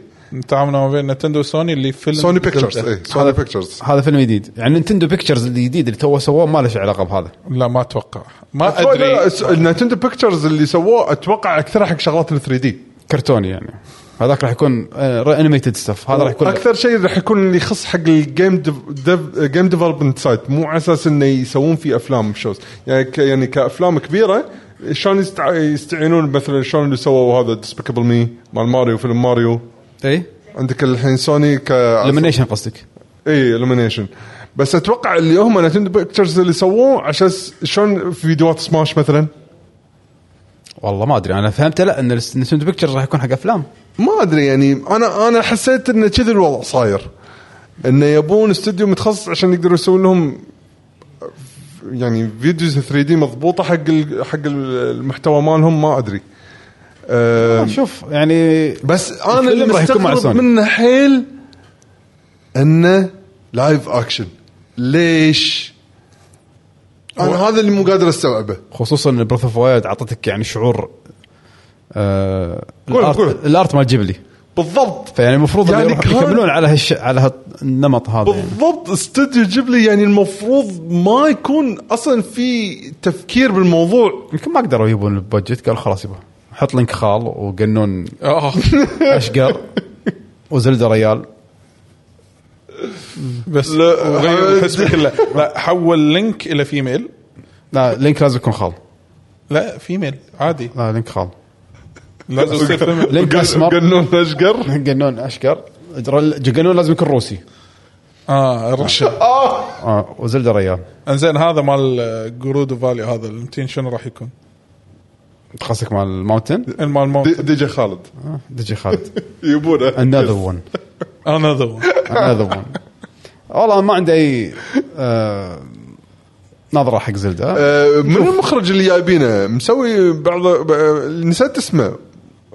C: تعاون ما بين نتندو وسوني اللي فيلم
B: سوني إيه. بيكتشرز
C: زلدة.
B: اي سوني بيكتشرز
A: هذا فيلم جديد يعني نينتندو بيكتشرز الجديد اللي توه سووه ما له شيء علاقه بهذا
C: لا ما اتوقع ما
B: لا لا
C: ادري
B: س- النينتندو بيكتشرز اللي سووه اتوقع اكثر حق شغلات ال 3 دي
A: كرتوني يعني هذاك راح يكون آه، انيميتد ستاف هذا راح يكون
B: اكثر شيء راح يكون اللي يخص حق الجيم جيم ديفلوبمنت سايت مو على اساس انه يسوون فيه افلام شوز يعني ك يعني كافلام كبيره شلون يستع- يستعينون مثلا شلون اللي سووا هذا ديسبيكابل مي مال ماريو فيلم ماريو
A: اي
B: عندك الحين سوني ك
A: المنيشن إيه؟ قصدك
B: اي الومنيشن بس اتوقع اللي هم نتندو بيكتشرز اللي سووه عشان س- شلون في فيديوهات سماش مثلا
A: والله ما ادري انا فهمت لا ان نينتندو بيكتشرز راح يكون حق افلام
B: ما ادري يعني انا انا حسيت ان كذي الوضع صاير انه يبون استوديو متخصص عشان يقدروا يسوون لهم يعني فيديوز 3 دي مضبوطه حق ال- حق المحتوى مالهم ما ادري أه
A: طيب، شوف يعني
B: بس انا اللي
A: الفيلم راح يكون مع
B: مستغرب
A: سوني.
B: منه حيل انه لايف اكشن ليش؟ انا هذا اللي مو قادر استوعبه
A: خصوصا ان بريث اوف وايلد اعطتك يعني شعور آه
B: قول-
A: الارت
B: قول.
A: الارت مال جيبلي
B: بالضبط
A: فيعني المفروض
B: يعني
A: يعني يروح-
B: كان-
A: يكملون على هالش على هالنمط هذا يعني.
B: بالضبط استوديو جيبلي يعني المفروض ما يكون اصلا في تفكير بالموضوع
A: يمكن ما قدروا يجيبون البادجت قالوا خلاص يبا حط لينك خال وقنون
C: آه.
A: اشقر وزلده ريال
C: بس
B: لا،
C: وغير
B: حد.
C: الحسبه كلها لا حول لينك الى فيميل
A: لا لينك لازم يكون خال
C: لا فيميل عادي
A: لا لينك خال
C: لازم يصير فيميل
A: لينك اسمر
B: قنون اشقر
A: قنون اشقر جر- قنون لازم يكون روسي
C: اه الرشا
A: آه وزلده ريال
C: انزين هذا مال جرودو فالي هذا التين شنو راح يكون؟
A: خاصك مال الماونتن
C: مال مونت
B: دي جي خالد
A: دجي خالد
B: يبونه
C: uh,
A: another one
C: انا ذو
A: another one والله ما عندي اي آه نظره حق زلده
B: آه، من المخرج اللي جايبينه مسوي بعض ب- نسيت اسمه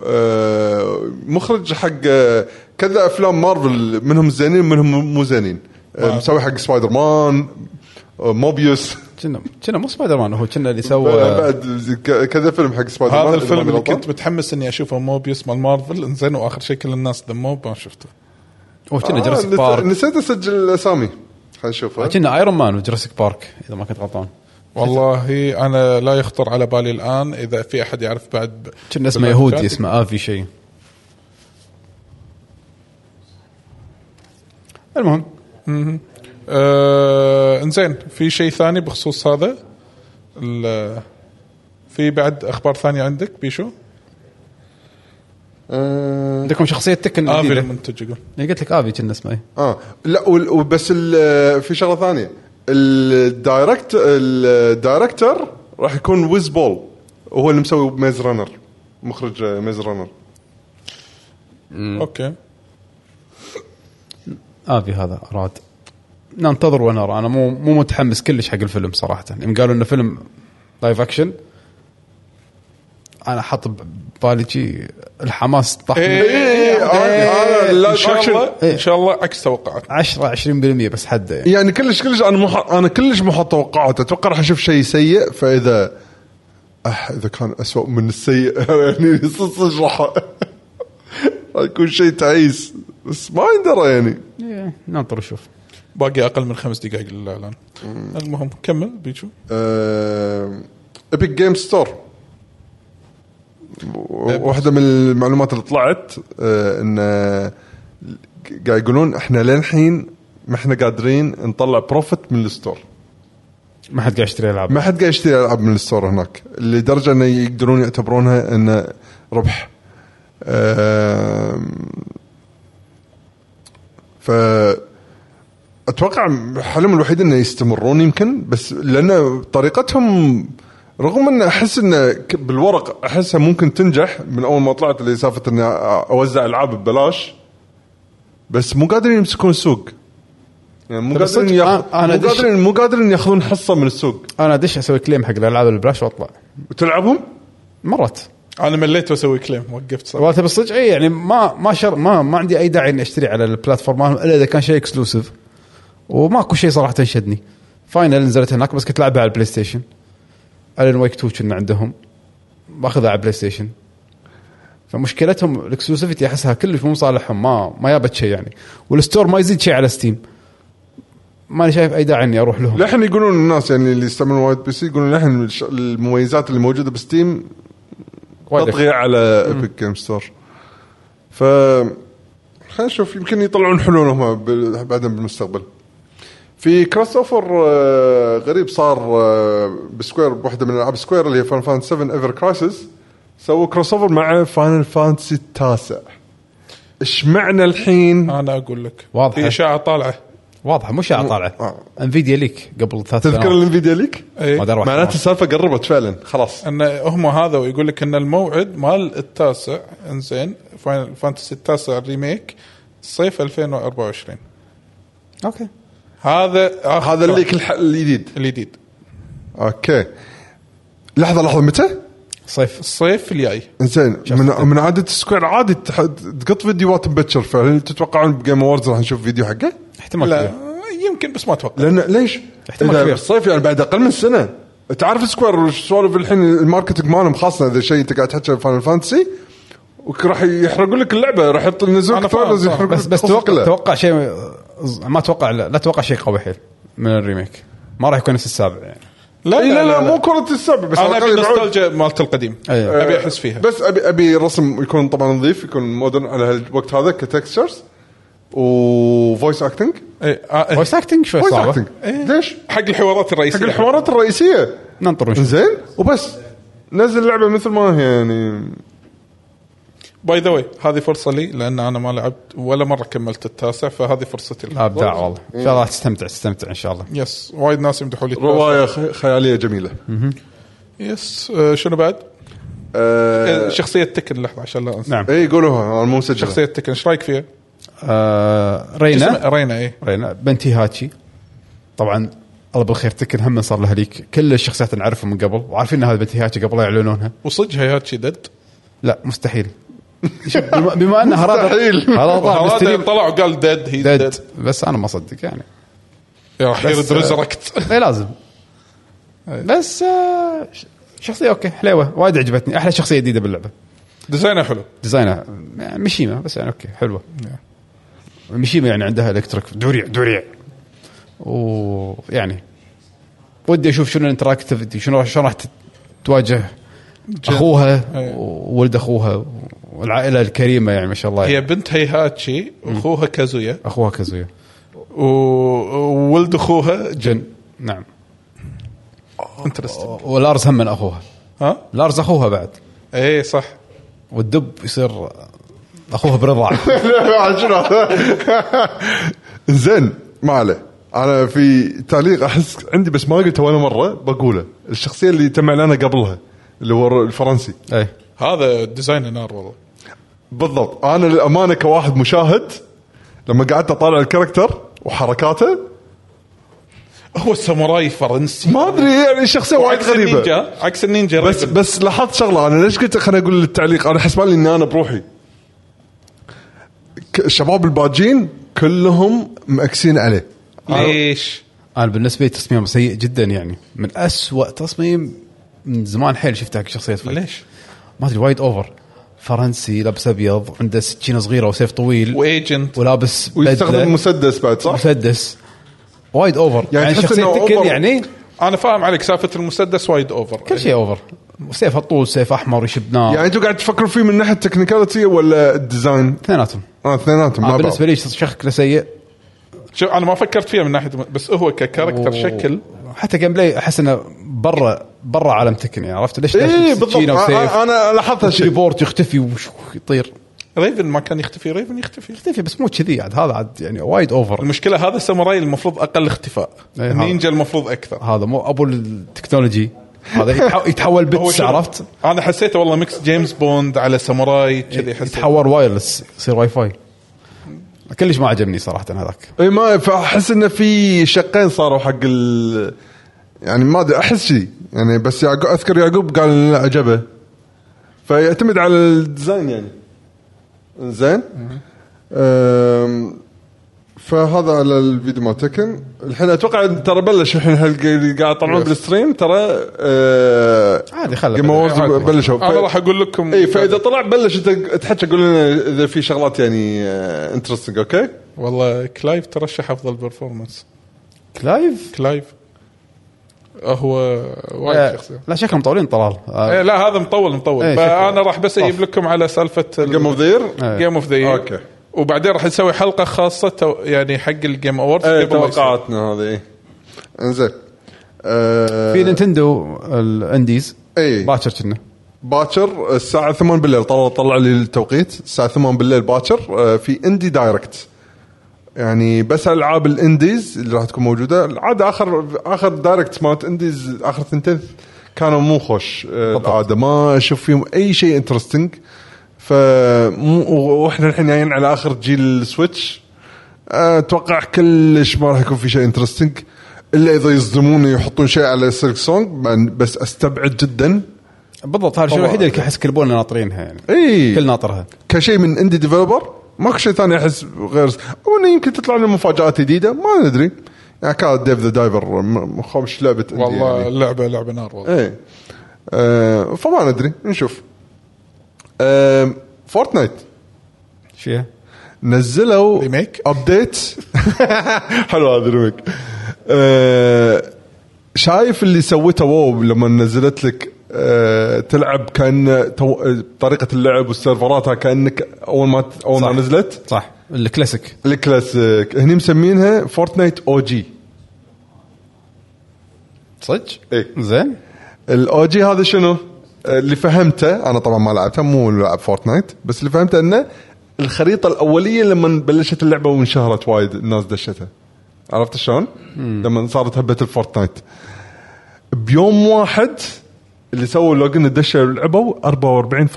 B: آه، مخرج حق آه، كذا افلام مارفل منهم زينين منهم مو زينين آه، مسوي حق سبايدر مان آه، موبيوس آه،
A: كنا كنا مو سبايدر مان هو كنا اللي سوى
B: بعد ك- كذا فيلم حق سبايدر مان
C: هذا
B: إذا ما
C: الفيلم اللي
B: غلطان.
C: كنت متحمس اني اشوفه موبيوس مال مارفل انزين واخر شيء كل الناس ذموه ما شفته
A: هو كنا آه،
B: آه،
A: جراسيك
B: نس-
A: بارك
B: نسيت اسجل الاسامي خلينا نشوفها
A: كنا ايرون مان وجراسيك بارك اذا ما كنت غلطان
C: والله انا لا يخطر على بالي الان اذا في احد يعرف بعد ب-
A: كنا اسمه
C: بالأفكار.
A: يهودي اسمه افي شيء المهم
C: آه، انزين في شيء ثاني بخصوص هذا ال- في بعد اخبار ثانيه عندك بيشو؟
B: آه،
A: عندكم شخصيه تكن
C: افي
A: جديده
C: المنتج يقول
A: أنا قلت لك افي كنا اسمه إيه.
B: اه لا وال- وبس ال- في شغله ثانيه الدايركت الدايركتر راح يكون ويز بول هو اللي مسوي ميز رانر مخرج ميز رانر
C: اوكي
A: افي هذا اراد ننتظر ونرى انا مو مو متحمس كلش حق الفيلم صراحه يوم قالوا انه فيلم لايف اكشن انا حاط ببالي شي الحماس طاح
C: إيه، إيه،
B: إيه،
C: إيه، ان شاء
B: أكشن.
C: الله ان شاء الله عكس توقعات
A: 10 20% بس حده يعني
B: يعني كلش كلش انا مو ح- انا كلش مو حاط توقعات اتوقع راح اشوف شيء سيء فاذا أح اذا كان اسوء من السيء يعني صدق راح راح يكون شيء تعيس بس ما يندرى يعني
A: إيه، ننطر نشوف
C: باقي اقل من خمس دقائق للاعلان المهم كمل بيشو
B: آه، ابيك جيم ستور واحده من المعلومات اللي طلعت آه، ان آه، قاعد يقولون احنا للحين ما احنا قادرين نطلع بروفيت من الستور
A: ما حد قاعد يشتري العاب
B: ما حد قاعد يشتري العاب من الستور هناك لدرجه انه يقدرون يعتبرونها انه ربح آم، ف اتوقع حلمهم الوحيد انه يستمرون يمكن بس لان طريقتهم رغم ان احس انه ك- بالورق احسها ممكن تنجح من اول ما طلعت اللي سالفه اني اوزع العاب ببلاش بس مو قادرين يمسكون السوق يعني مو
A: بس طيب،
B: قادرين
A: صدق،
B: ياخ...
A: أنا- أنا
B: مو
A: أدش-
B: قادرين مو قادرين ياخذون حصه من السوق
A: انا ادش اسوي كليم حق الالعاب البلاش واطلع
B: وتلعبهم
A: مرات
C: انا مليت واسوي كليم وقفت صراحه
A: والله بالصدق اي يعني ما ما شر ما ما عندي اي داعي اني اشتري على البلاتفورم مالهم الا اذا كان شيء اكسلوسيف وماكو شيء صراحه شدني فاينل نزلت هناك بس كنت لعبها على البلاي ستيشن الين ويك 2 كنا عندهم باخذها على البلاي ستيشن فمشكلتهم الاكسلوسيفيتي احسها كلش مو مصالحهم ما ما جابت شيء يعني والستور ما يزيد شيء على ستيم ماني شايف اي داعي اني اروح لهم
B: للحين يقولون الناس يعني اللي يستعملون وايد بي سي يقولون للحين الش- المميزات اللي موجوده بستيم
A: وايد
B: تطغية على ايبك جيم ستور ف خلينا نشوف يمكن يطلعون حلول هم بال- بعدين بالمستقبل في كروس اوفر آه، غريب صار آه، بسكوير بواحده من العاب سكوير اللي هي فان فانت 7 ايفر كرايسس سووا كروس اوفر مع فاينل فانتسي التاسع ايش معنى
A: آه.
B: الحين
C: انا اقول لك
A: واضحة.
C: هي اشاعه طالعه
A: واضحه مو شاعه طالعه
B: آه.
A: انفيديا ليك قبل ثلاث
B: تذكر
A: سنوات
B: الانفيديا ليك؟
C: إيه.
A: ما دار واحد.
B: معناته السالفه قربت فعلا خلاص
C: ان هم هذا ويقول لك ان الموعد مال التاسع انزين فاينل فانتسي التاسع ريميك صيف 2024
A: اوكي
C: هذا آخر
B: هذا
C: كلام
B: الليك الح- الجديد
C: الجديد
B: اوكي لحظه لحظه متى؟
A: صيف
C: الصيف الجاي
B: زين من, من عاده سكوير عادي تح- تقط فيديوهات مبكر فهل تتوقعون بجيم اووردز راح نشوف فيديو حقه؟
A: احتمال
C: لا
A: كبير.
C: يمكن بس ما اتوقع
B: لان ليش؟
A: احتمال
B: إذا
A: كبير.
B: بالصيف يعني بعد اقل من سنه تعرف سكوير السوالف الحين الماركتنج مالهم خاصه اذا شيء انت قاعد تحكي عن فاينل فانتسي راح يحرقون لك اللعبه راح يحط ينزلون
C: أنا
B: لك
C: فاهم،
B: trailers
C: فاهم.
B: يحرقون
A: بس
B: لك
A: بس
B: قصة
A: توقع
B: كلها.
A: توقع شيء ما اتوقع لا, لا اتوقع شيء قوي حيل من الريميك ما راح يكون نفس السابع يعني
C: لا
B: إي إيه، لا لا مو كره السبع بس
C: انا
B: على
C: ابي
B: الأقل يبعون-
C: نوستالجيا مالت القديم
A: أيوة.
C: ابي احس فيها
B: إيه. بس ابي ابي رسم يكون طبعا نظيف يكون مودرن على هالوقت هذا كتكستشرز وفويس اكتنج
C: إيه، آه، إيه.
A: فويس اكتنج شوي
B: فويس
A: صعبه
B: اكتنج ليش؟
C: حق الحوارات الرئيسيه
B: حق الحوارات الرئيسيه
A: ننطر ونشوف
B: زين وبس نزل اللعبه مثل ما هي يعني
C: باي ذا واي هذه فرصه لي لان انا ما لعبت ولا مره كملت التاسع فهذه فرصتي
A: لا
B: نعم.
C: لها
A: آه، ابداع والله ان شاء الله تستمتع تستمتع ان شاء الله
C: يس وايد ناس يمدحوا لي التاسع.
B: روايه خ- خياليه جميله
C: يس آه، شنو بعد؟ آه،
B: آه
C: شخصيه تكن لحظه عشان لا انسى
A: نعم.
B: اي قولوها انا مو مسجل
C: شخصيه تكن ايش رايك فيها؟
A: آه
C: اسمها
A: رينا
C: رينا ايه
A: رينا بنتي هاتشي طبعا الله بالخير تكن هم صار لها ليك كل الشخصيات نعرفها من قبل وعارفين ان هذه بنتي هاتشي قبل لا يعلنونها
C: وصدق هياتشي دد
A: لا مستحيل شوف، بما- بما ان هرادا
B: مستحيل.
A: هرادا طلع
C: هذا
A: بالستريم
C: طلع وقال ديد هي
A: ديد
C: ديد
A: بس انا ما اصدق يعني
C: راح يرد
B: آه.
C: ريزركت
A: اي إيه، لازم بس آه، ش- شخصيه اوكي حلوه وايد عجبتني احلى شخصيه جديده باللعبه
C: ديزاينه حلو
A: ديزاينها يعني مشيمه بس يعني اوكي حلوه مشيمه يعني عندها الكتريك دريع دريع ويعني يعني، ودي اشوف شنو الانتراكتيفيتي شنو شلون راح تت- تواجه اخوها
C: أي.
A: وولد اخوها والعائله الكريمه يعني ما شاء الله
C: هي
A: يعني.
C: بنت هيهاتشي واخوها كازويا
A: اخوها كازويا
C: و- وولد اخوها
A: جن نعم
C: انترستنج
A: ولارز هم من اخوها
C: ها؟
A: لارز اخوها بعد
C: ايه صح
A: والدب يصير اخوها برضاعه
B: لا، شنو هذا؟ زين ما عليه انا في تعليق احس عندي بس ما قلته ولا مره بقوله الشخصيه اللي تم اعلانها قبلها اللي هو الفرنسي
A: اي
C: هذا ديزاين نار والله
B: بالضبط انا للامانه كواحد مشاهد لما قعدت اطالع الكاركتر وحركاته
C: هو الساموراي فرنسي
B: ما ادري يعني شخصيه وايد
C: عكس
B: غريبه
C: النينجا عكس النينجا بس
B: بس بس لاحظت شغله انا ليش قلت خليني اقول التعليق انا حسب بالي اني انا بروحي ك- الشباب الباجين كلهم مأكسين عليه
A: آه.
C: ليش؟
A: انا بالنسبه لي تصميم سيء جدا يعني من أسوأ تصميم من زمان حيل شفته حق شخصيه فايت
C: ليش؟
A: ما ادري وايد اوفر فرنسي لابس ابيض عنده سكينه صغيره وسيف طويل
C: وايجنت
A: ولابس بدلة،
B: ويستخدم مسدس بعد صح؟
A: مسدس وايد اوفر يعني,
B: يعني تحس
A: شخصيه
B: إنه
A: تكن
B: أوفر.
A: يعني
C: انا فاهم عليك سالفه المسدس وايد اوفر
A: كل شيء اوفر سيف طول سيف احمر يشب نار
B: يعني
A: يعني
B: انتم قاعد تفكروا فيه من ناحيه التكنيكاليتي ولا الديزاين؟
A: اثنيناتهم
B: اه اثنيناتهم
A: انا
B: مع بعض
A: بالنسبه لي شكله سيء
C: شوف انا ما فكرت فيها من ناحيه بس هو ككاركتر شكل
A: حتى جيم بلاي احس انه برا برا عالم تكن يعني عرفت ليش
B: اي
A: ليش
B: إيه، بالضبط آه،
A: سكينة وسيف؟
B: انا أنا لاحظت هالشيء
A: ريبورت يختفي ويطير
C: ريفن ما كان يختفي ريفن يختفي
A: اختفي بس مو كذي عاد هذا عاد يعني وايد اوفر
C: المشكله هذا ساموراي المفروض اقل اختفاء
A: إيه، هذا.
C: النينجا المفروض اكثر
A: هذا مو ابو التكنولوجي هذا يتح- يتحول بتس
C: شوف،
A: عرفت؟
C: انا حسيته والله ميكس جيمس بوند على ساموراي
A: إيه،
C: كذي حسيت
A: يتحول وايرلس يصير واي فاي كلش ما عجبني صراحه هذاك
B: اي ما فاحس انه في شقين صاروا حق ال يعني ما ادري احس شيء يعني بس يعقوب اذكر يعقوب قال لا عجبه فيعتمد على الديزاين يعني زين أم، فهذا على الفيديو مال تكن الحين اتوقع ترى بلش الحين هالق- قاعد يطلعون بالستريم ترى أه،
A: عادي خله
B: جيم
A: بلش.
B: أووردز بلشوا
C: انا راح اقول لكم
B: اي فاذا طلع بلش انت تحكي قول لنا اذا في شغلات يعني انترستنج اوكي؟
C: والله كلايف ترشح افضل برفورمانس
A: كلايف
C: كلايف هو وايد
A: آه،
C: شخصيه
A: لا شكلهم مطولين طلال آه،
C: إيه لا هذا مطول مطول
A: إيه،
C: فانا
A: شكله.
C: راح بس اجيب لكم على سالفه
B: جيم اوف ذا يير
A: إيه.
C: جيم اوف ذا
B: أوكي.
C: وبعدين راح نسوي حلقه خاصه تو- يعني حق الجيم اووردز
B: ايه
C: قبل ما يصير.
B: توقعاتنا هذه إيه. انزين
A: في
B: آه
A: نينتندو الانديز
B: إي.
A: باكر كنا
B: باكر آه، الساعة 8 بالليل طلع طلع لي التوقيت الساعة 8 بالليل باكر آه في اندي دايركت يعني بس العاب الانديز اللي راح تكون موجودة العادة اخر اخر دايركت مالت انديز اخر ثنتين كانوا مو خوش آه
A: بالضبط.
B: العادة ما اشوف فيهم اي شيء انترستنج ف واحنا الحين جايين على اخر جيل السويتش اتوقع كلش ما راح يكون في شيء انترستنج الا اذا يصدموني ويحطون شيء على سيلك سونج بس استبعد جدا
A: بالضبط هذا الشيء الوحيد اللي احس كل بولنا ناطرينها يعني
B: اي
A: كل ناطرها
B: كشيء من اندي ديفلوبر ماكو شيء ثاني احس غير او انه يمكن تطلع لنا مفاجات جديده ما ندري يعني كان ديف ذا دايفر م- خوش لعبه اندي
C: والله
B: يعني.
C: اللعبه لعبه نار والله
B: ايه آه فما ندري نشوف آه فورتنايت
A: شيء
B: نزلوا
C: ريميك؟
B: ابديت حلو هذا الريميك آه، شايف اللي سويته واو لما نزلت لك آه، تلعب كان تو- طريقه اللعب والسيرفراتها كانك اول ما اول ما
A: صح.
B: نزلت
A: صح الكلاسيك
B: الكلاسيك آه، هني مسمينها فورتنايت او جي
A: صدق؟
B: إي.
A: زين
B: الاو جي هذا شنو؟ آه، اللي فهمته انا طبعا ما لعبته مو لاعب فورتنايت بس اللي فهمته انه الخريطه الاوليه لما بلشت اللعبه وانشهرت وايد الناس دشتها عرفت شلون؟ لما صارت هبه الفورتنايت بيوم واحد اللي سووا لوجن الدشه لعبوا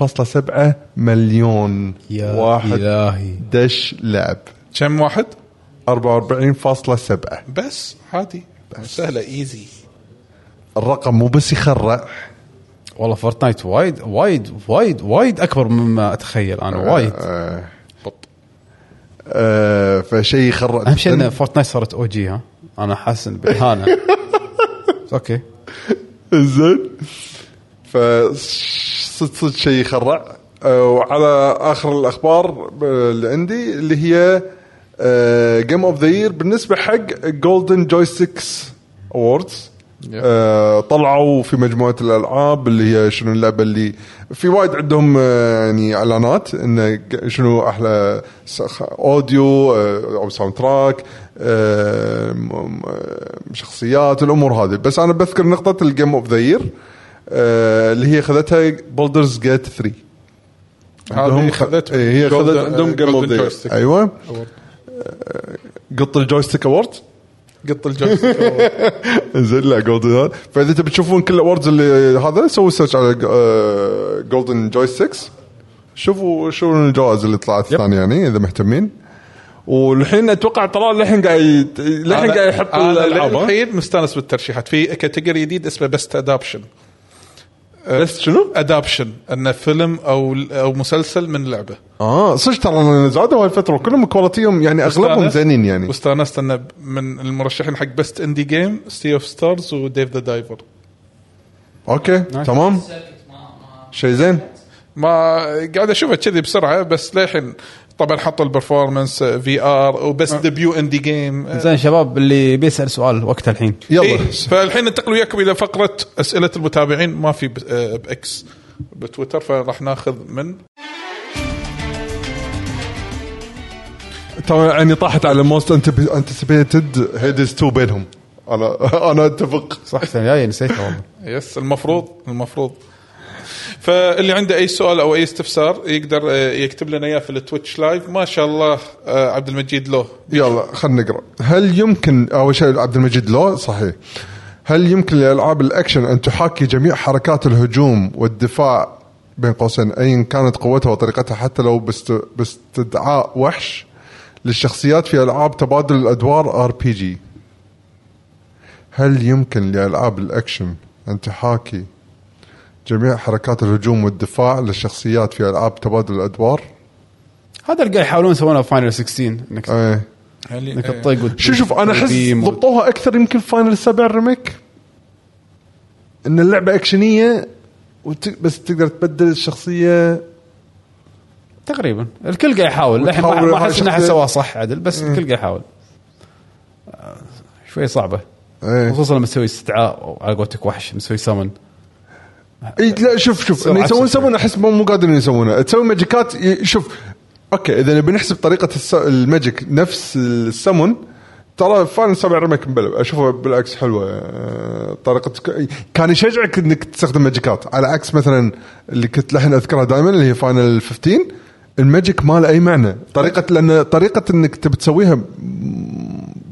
B: 44.7 مليون
A: يا
B: واحد
A: إلهي.
B: دش لعب
C: كم واحد
B: 44.7
C: بس عادي سهله ايزي
B: الرقم مو بس يخرع
A: والله فورتنايت وايد وايد وايد وايد اكبر مما اتخيل انا وايد
B: آه. آه فشيء يخرع
A: اهم شيء
B: جداً.
A: ان فورتنايت صارت او جي ها انا حاسس إن بالاهانه اوكي
B: زين ف صدق صدق شيء يخرع آه، وعلى اخر الاخبار آه، اللي عندي اللي هي آه، جيم اوف ذا يير بالنسبه حق جولدن جويستكس اووردز
C: Yeah.
B: آه، طلعوا في مجموعه الالعاب اللي هي شنو اللعبه اللي في وايد عندهم آه، يعني اعلانات انه ج- شنو احلى سخ- اوديو آه، او ساوند تراك آه، م- م- آه، شخصيات الامور هذه بس انا بذكر نقطه الجيم اوف ذا يير آه، اللي هي خذتها بولدرز جيت 3
C: هذه خذت
B: إيه، هي خذت
C: Golden-
B: عندهم جيم اوف
C: Golden
B: ذا
C: Joystick.
B: ايوه
C: Award.
B: آه، قط الجويستيك اوورد
C: قط الجويستيك
B: زين لا جولدن فاذا تبي تشوفون كل الاوردز اللي هذا سووا سيرش على جولدن جويستيكس شوفوا شو الجوائز اللي طلعت الثانيه يعني اذا مهتمين والحين اتوقع طلال للحين قاعد يت- للحين قاعد يحط الالعاب ها؟
C: الحين مستانس بالترشيحات في كاتيجوري جديد اسمه بست ادابشن
B: بس شنو؟
C: ادابشن انه فيلم او او مسلسل من لعبه
B: اه صدق ترى زادوا هالفتره كلهم كواليتيهم يعني اغلبهم
C: واستانست-
B: زينين يعني
C: واستانست انه من المرشحين حق بست اندي جيم سي اوف ستارز وديف ذا دايفر
B: اوكي تمام شيء زين
C: ما قاعد اشوفه كذي بسرعه بس للحين طبعا حطوا آه، البرفورمانس في ار وبس ديبيو اندي جيم
A: زين شباب اللي بيسال سؤال وقت الحين
B: يلا
C: آه، إيه فالحين ننتقل وياكم الى فقره اسئله المتابعين ما في ب- آه، باكس بتويتر فراح ناخذ من
B: ترى يعني طاحت على موست انتسبيتد هيدز 2 بينهم انا انا اتفق
A: صح السنه الجايه نسيتها والله
C: يس المفروض المفروض فاللي عنده اي سؤال او اي استفسار يقدر آه، يكتب لنا اياه في التويتش لايف ما شاء الله آه، عبد المجيد له
B: يلا خلينا نقرا هل يمكن اول شيء عبد المجيد لو صحيح هل يمكن لالعاب الاكشن ان تحاكي جميع حركات الهجوم والدفاع بين قوسين ايا كانت قوتها وطريقتها حتى لو باست... باستدعاء وحش للشخصيات في العاب تبادل الادوار ار بي جي هل يمكن لالعاب الاكشن ان تحاكي جميع حركات الهجوم والدفاع للشخصيات في العاب تبادل الادوار؟
A: هذا اللي قاعد يحاولون يسوونه في فاينل 16 انك
B: ايه
C: يعني،
A: انك
C: آه،
A: تطق وت-
B: شو شوف انا احس
A: وتبيم وت-
B: ضبطوها اكثر يمكن فاينل 7 ريميك ان اللعبه اكشنيه وت... بس تقدر تبدل الشخصيه
A: تقريبا الكل قاعد يحاول الحين ما-
B: وتحاول
A: ما احس ان احد
B: هاي
A: سواه صح عدل بس الكل قاعد يحاول آه، شوي صعبه
B: ايه
A: خصوصا لما تسوي استدعاء أو على قولتك وحش مسوي سمن
B: إيه لا شوف شوف
A: سرعة
B: اللي يسوون
A: سرعة.
B: يسوون احس مو مو قادرين يسوونه تسوي ماجيكات ي- شوف اوكي اذا نبي نحسب طريقه الس... الماجيك نفس السمون ترى فاينل 7 ريميك مبلب اشوفه بالعكس حلوه آه، طريقه كان يشجعك انك تستخدم ماجيكات على عكس مثلا اللي كنت لحن اذكرها دائما اللي هي فاينل 15 الماجيك ما له اي معنى طريقه لان طريقه انك تبي تسويها م-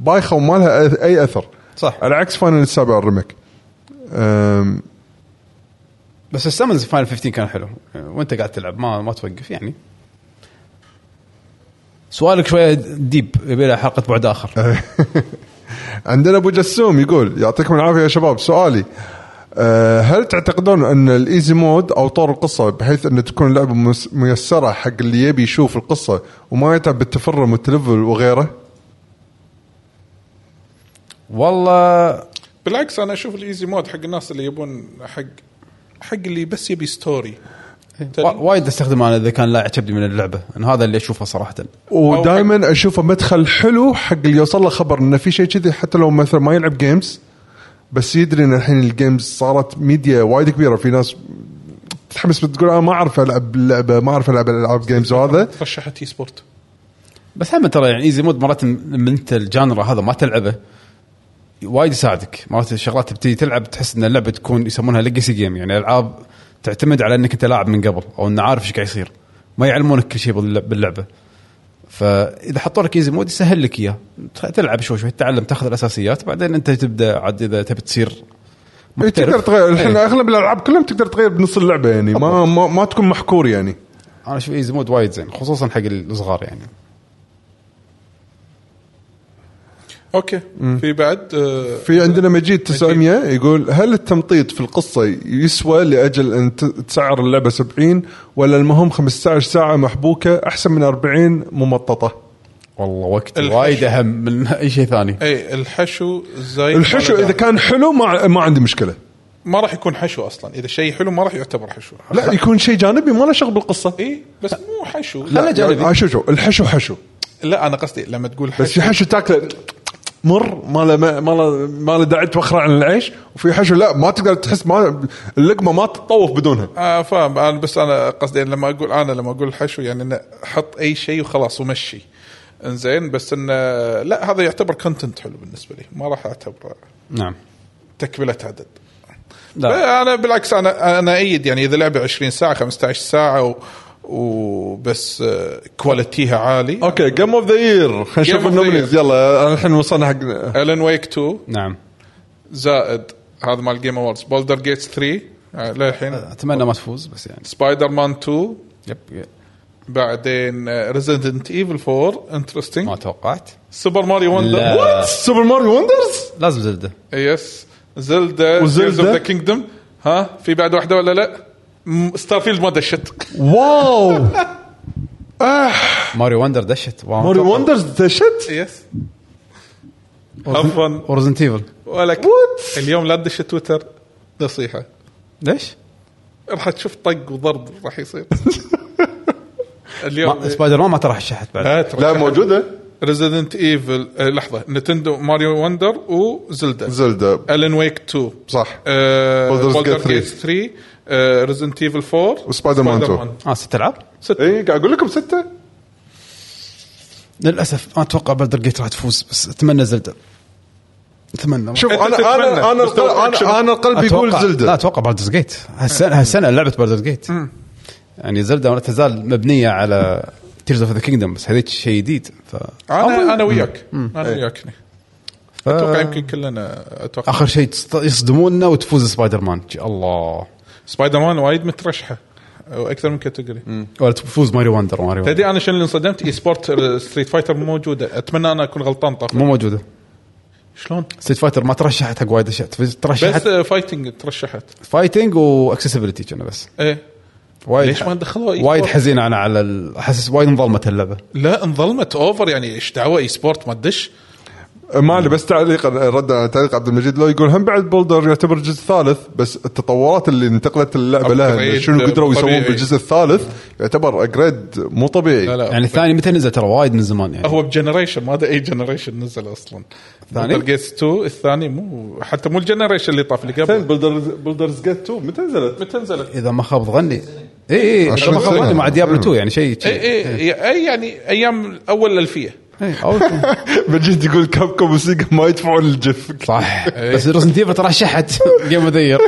B: بايخه وما لها أ- اي اثر
A: صح.
B: على عكس فاينل 7 ريميك أم،
A: بس السمنز فاينل 15 كان حلو وانت قاعد تلعب ما ما توقف يعني سؤالك شويه ديب يبي له حلقه بعد اخر
B: عندنا ابو جسوم يقول يعطيكم العافيه يا شباب سؤالي أه، هل تعتقدون ان الايزي مود او طور القصه بحيث ان تكون اللعبه مس- ميسره حق اللي يبي يشوف القصه وما يتعب بالتفرم والتلفل وغيره؟
A: والله
C: بالعكس انا اشوف الايزي مود حق الناس اللي يبون حق حق اللي بس يبي ستوري
B: إيه.
C: طيب.
A: وا- وايد استخدمه انا اذا كان لا يعجبني من اللعبه انا هذا اللي اشوفه صراحه
B: ودائما اشوفه مدخل حلو حق اللي يوصل له خبر انه في شيء كذي حتى لو مثلا ما يلعب جيمز بس يدري ان الحين الجيمز صارت ميديا وايد كبيره في ناس تتحمس بتقول انا ما اعرف العب اللعبه ما اعرف العب العاب جيمز وهذا
C: رشحت اي سبورت
A: بس هم ترى يعني ايزي مود مرات م- من انت الجانرا هذا ما تلعبه وايد يساعدك مرات الشغلات تبتدي تلعب تحس ان اللعبه تكون يسمونها ليجسي جيم يعني العاب تعتمد على انك انت لاعب من قبل او انه عارف ايش قاعد يصير ما يعلمونك كل شيء باللع- باللعبه فاذا حطوا لك ايزي مود يسهل لك اياه تخ- تلعب شوي شوي تتعلم تاخذ الاساسيات بعدين انت تبدا عاد اذا تبي تصير
B: إيه،
A: محترف.
B: تقدر تغير الحين
A: إيه.
B: اغلب الالعاب كلهم تقدر تغير بنص اللعبه يعني ما ما, ما تكون محكور يعني
A: انا اشوف ايزي مود وايد زين خصوصا حق الصغار يعني
C: اوكي في بعد آه،
B: في عندنا مجيد 900 يقول هل التمطيط في القصه يسوى لاجل ان ت- تسعر اللعبه 70 ولا المهم 15 ساعه محبوكه احسن من 40 ممططه
A: والله وقت
C: الحش.
A: وايد اهم من اي شيء ثاني
C: اي إيه، الحشو زي
B: الحشو اذا كان حلو ما ما عندي مشكله
C: ما راح يكون حشو اصلا اذا شيء حلو ما راح يعتبر حشو
B: لا يكون شيء جانبي ما له شغل بالقصه
C: اي بس مو حشو يعني،
A: لا إيه. جانبي.
B: آه، شو شو الحشو حشو
C: لا انا قصدي لما تقول
B: بس في
C: حشو
B: حشو تاكله مر ما له ما ما له ما له داعي توخر عن العيش وفي حشو لا ما تقدر تحس ما اللقمه ما تطوف بدونها
C: آه فاهم انا بس انا قصدي لما اقول انا لما اقول حشو يعني انه حط اي شيء وخلاص ومشي انزين بس انه لا هذا يعتبر كونتنت حلو بالنسبه لي ما راح اعتبره
A: نعم
C: تكمله عدد
A: لا
C: انا بالعكس انا انا ايد يعني اذا لعبه 20 ساعه 15 ساعه و وبس آه، كواليتيها عالي
B: اوكي جيم اوف ذا يير خلينا
C: Game of
B: نشوف
C: the Year.
B: النومينيز يلا الحين وصلنا حق
C: الن ويك 2
A: نعم
C: زائد هذا مال جيم اووردز بولدر جيتس 3 آه، للحين
A: اتمنى ما تفوز بس يعني
C: سبايدر مان 2
A: يب
C: بعدين آه، ريزيدنت ايفل 4 انترستنج
A: ما توقعت
C: سوبر ماريو
A: لا.
C: وندر
B: سوبر ماريو وندرز
A: لازم زلده
C: يس زلدا
B: وزلدة.
C: ذا كينجدوم ها في بعد واحده ولا لا؟ ستار فيلد ما دشت
B: واو
A: ماريو وندر دشت واو
B: ماريو وندرز دشت
C: يس عفوا
A: ورزنت ايفل
C: ولك
B: What?
C: اليوم لا تدش تويتر نصيحه
A: ليش؟
C: راح تشوف طق وضرب راح يصير اليوم آه،
A: ما سبايدر مان ما ترى شحت بعد
B: لا موجوده
C: ريزيدنت ايفل لحظه نتندو ماريو وندر وزلدا
B: زلدة
C: الن ويك 2
B: صح
C: آه،
B: Baldur's Gate
C: بولدر
B: 3.
C: جيت 3 ريزيدنت ايفل 4
B: وسبايدر مان 2.
A: اه ست العاب؟
B: اي إيه، قاعد اقول لكم سته
A: للاسف ما اتوقع بلدر جيت راح تفوز بس اتمنى زلده اتمنى
B: شوف
C: أنت
B: انا انا
C: تتمنى
B: انا
C: مستوى
B: القلب-
C: أكشن.
B: انا, أنا القلب يقول
A: أتوقع- لا
B: زلده
A: اتوقع باردرز جيت
B: آه.
A: هالسنه هالسنه لعبه باردرز جيت يعني زلدا لا تزال مبنيه على تيرز اوف ذا كينجدم بس هذيك شيء جديد ف...
C: انا انا وياك انا وياك
A: ف...
C: اتوقع يمكن كلنا اتوقع
A: اخر شيء تصط- يصدموننا وتفوز سبايدر مان ج- الله
C: سبايدر مان وايد مترشحه واكثر من كاتيجوري
A: ولا تفوز ماري واندر ماري واندر.
C: تدري انا شنو اللي انصدمت اي سبورت ستريت فايتر مو موجوده اتمنى انا اكون غلطان طاف
A: مو موجوده
C: شلون
A: ستريت فايتر ما ترشحت حق وايد اشياء تف-
C: بس
A: ترشحت
C: آه، فايتنج ترشحت
A: فايتنج واكسسبيلتي كنا بس
C: ايه
A: وايد
C: ليش ما دخلوها إيه، إي
A: وايد
C: سبورت؟
A: حزين انا على ال- احس وايد انظلمت اللعبه
C: لا انظلمت اوفر يعني ايش دعوه اي سبورت ما تدش
B: مالي بس تعليق رد على تعليق عبد المجيد لو يقول هم بعد بولدر يعتبر الجزء الثالث بس التطورات اللي انتقلت اللعبه لها
C: Upgrade
B: شنو قدروا يسوون
C: طبيعي.
B: بالجزء الثالث يعتبر اجريد مو طبيعي
C: لا لا
A: يعني الثاني متى نزل ترى وايد من زمان يعني
C: هو بجنريشن ما ادري اي جنريشن نزل اصلا
A: الثاني؟
C: بولدر جيتس 2 الثاني مو حتى مو الجنريشن اللي طاف اللي قبل
B: بولدرز بولدرز جيت 2 متى نزلت؟
C: متى نزلت؟
A: اذا ما خاب ظني اي اي اذا
B: عشرين
A: ما خاب
B: سنة.
A: ظني مع ديابلو
B: إيه.
A: 2 يعني شيء
C: اي اي اي إيه، يعني ايام اول الالفيه
A: إيه، أو-
B: مجيد يقول كاب كوم وسيجا ما يدفعون الجف
A: صح
C: إيه.
A: بس ريزنت ايفل ترشحت جيم اوف ذا يير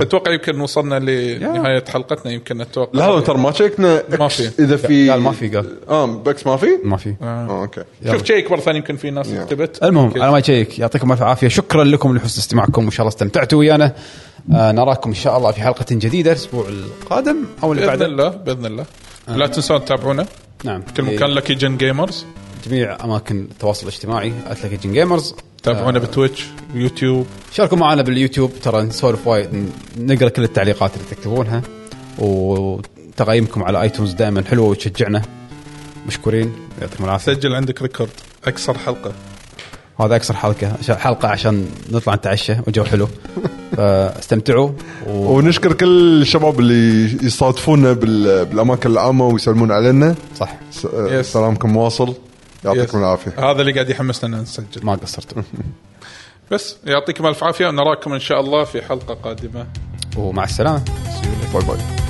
C: اتوقع يمكن وصلنا لنهايه حلقتنا يمكن اتوقع
B: لا هو ترى ما شيكنا
C: ما في.
B: اذا في
A: قال ما في، قال.
B: اه بكس ما في؟
A: ما في
B: اه اوكي
A: يلا.
C: شوف شيء اكبر ثاني يمكن في ناس
B: يلا.
C: كتبت
A: المهم
C: أوكي.
A: على ما يشيك يعطيكم الف عافيه شكرا لكم لحسن استماعكم وان شاء الله استمتعتوا ويانا آه نراكم ان شاء الله في حلقه جديده الاسبوع القادم او اللي
C: باذن
A: بعده
C: الله باذن الله لا تنسون تتابعونا
A: آه. نعم
C: كل مكان لكي جن جيمرز
A: جميع اماكن التواصل الاجتماعي @لكيجن جيمرز
C: تابعونا
A: آه.
C: بتويتش يوتيوب
A: شاركوا معنا باليوتيوب ترى نسولف وايد ن- نقرا كل التعليقات اللي تكتبونها وتقييمكم على ايتونز دائما حلوه وتشجعنا مشكورين يعطيكم العافيه
C: سجل عندك ريكورد اكثر حلقه
A: هذا اكثر حلقه عشان- حلقه عشان نطلع نتعشى وجو حلو فاستمتعوا و...
B: ونشكر كل الشباب اللي يصادفونا بال- بالاماكن العامه ويسلمون علينا
A: صح
B: س- آه، سلامكم واصل
C: Yes.
B: يعطيكم العافيه
C: هذا اللي قاعد يحمسنا إن نسجل
A: ما قصرتوا
C: بس يعطيكم الف عافيه ونراكم ان شاء الله في حلقه قادمه
A: ومع السلامه
B: باي باي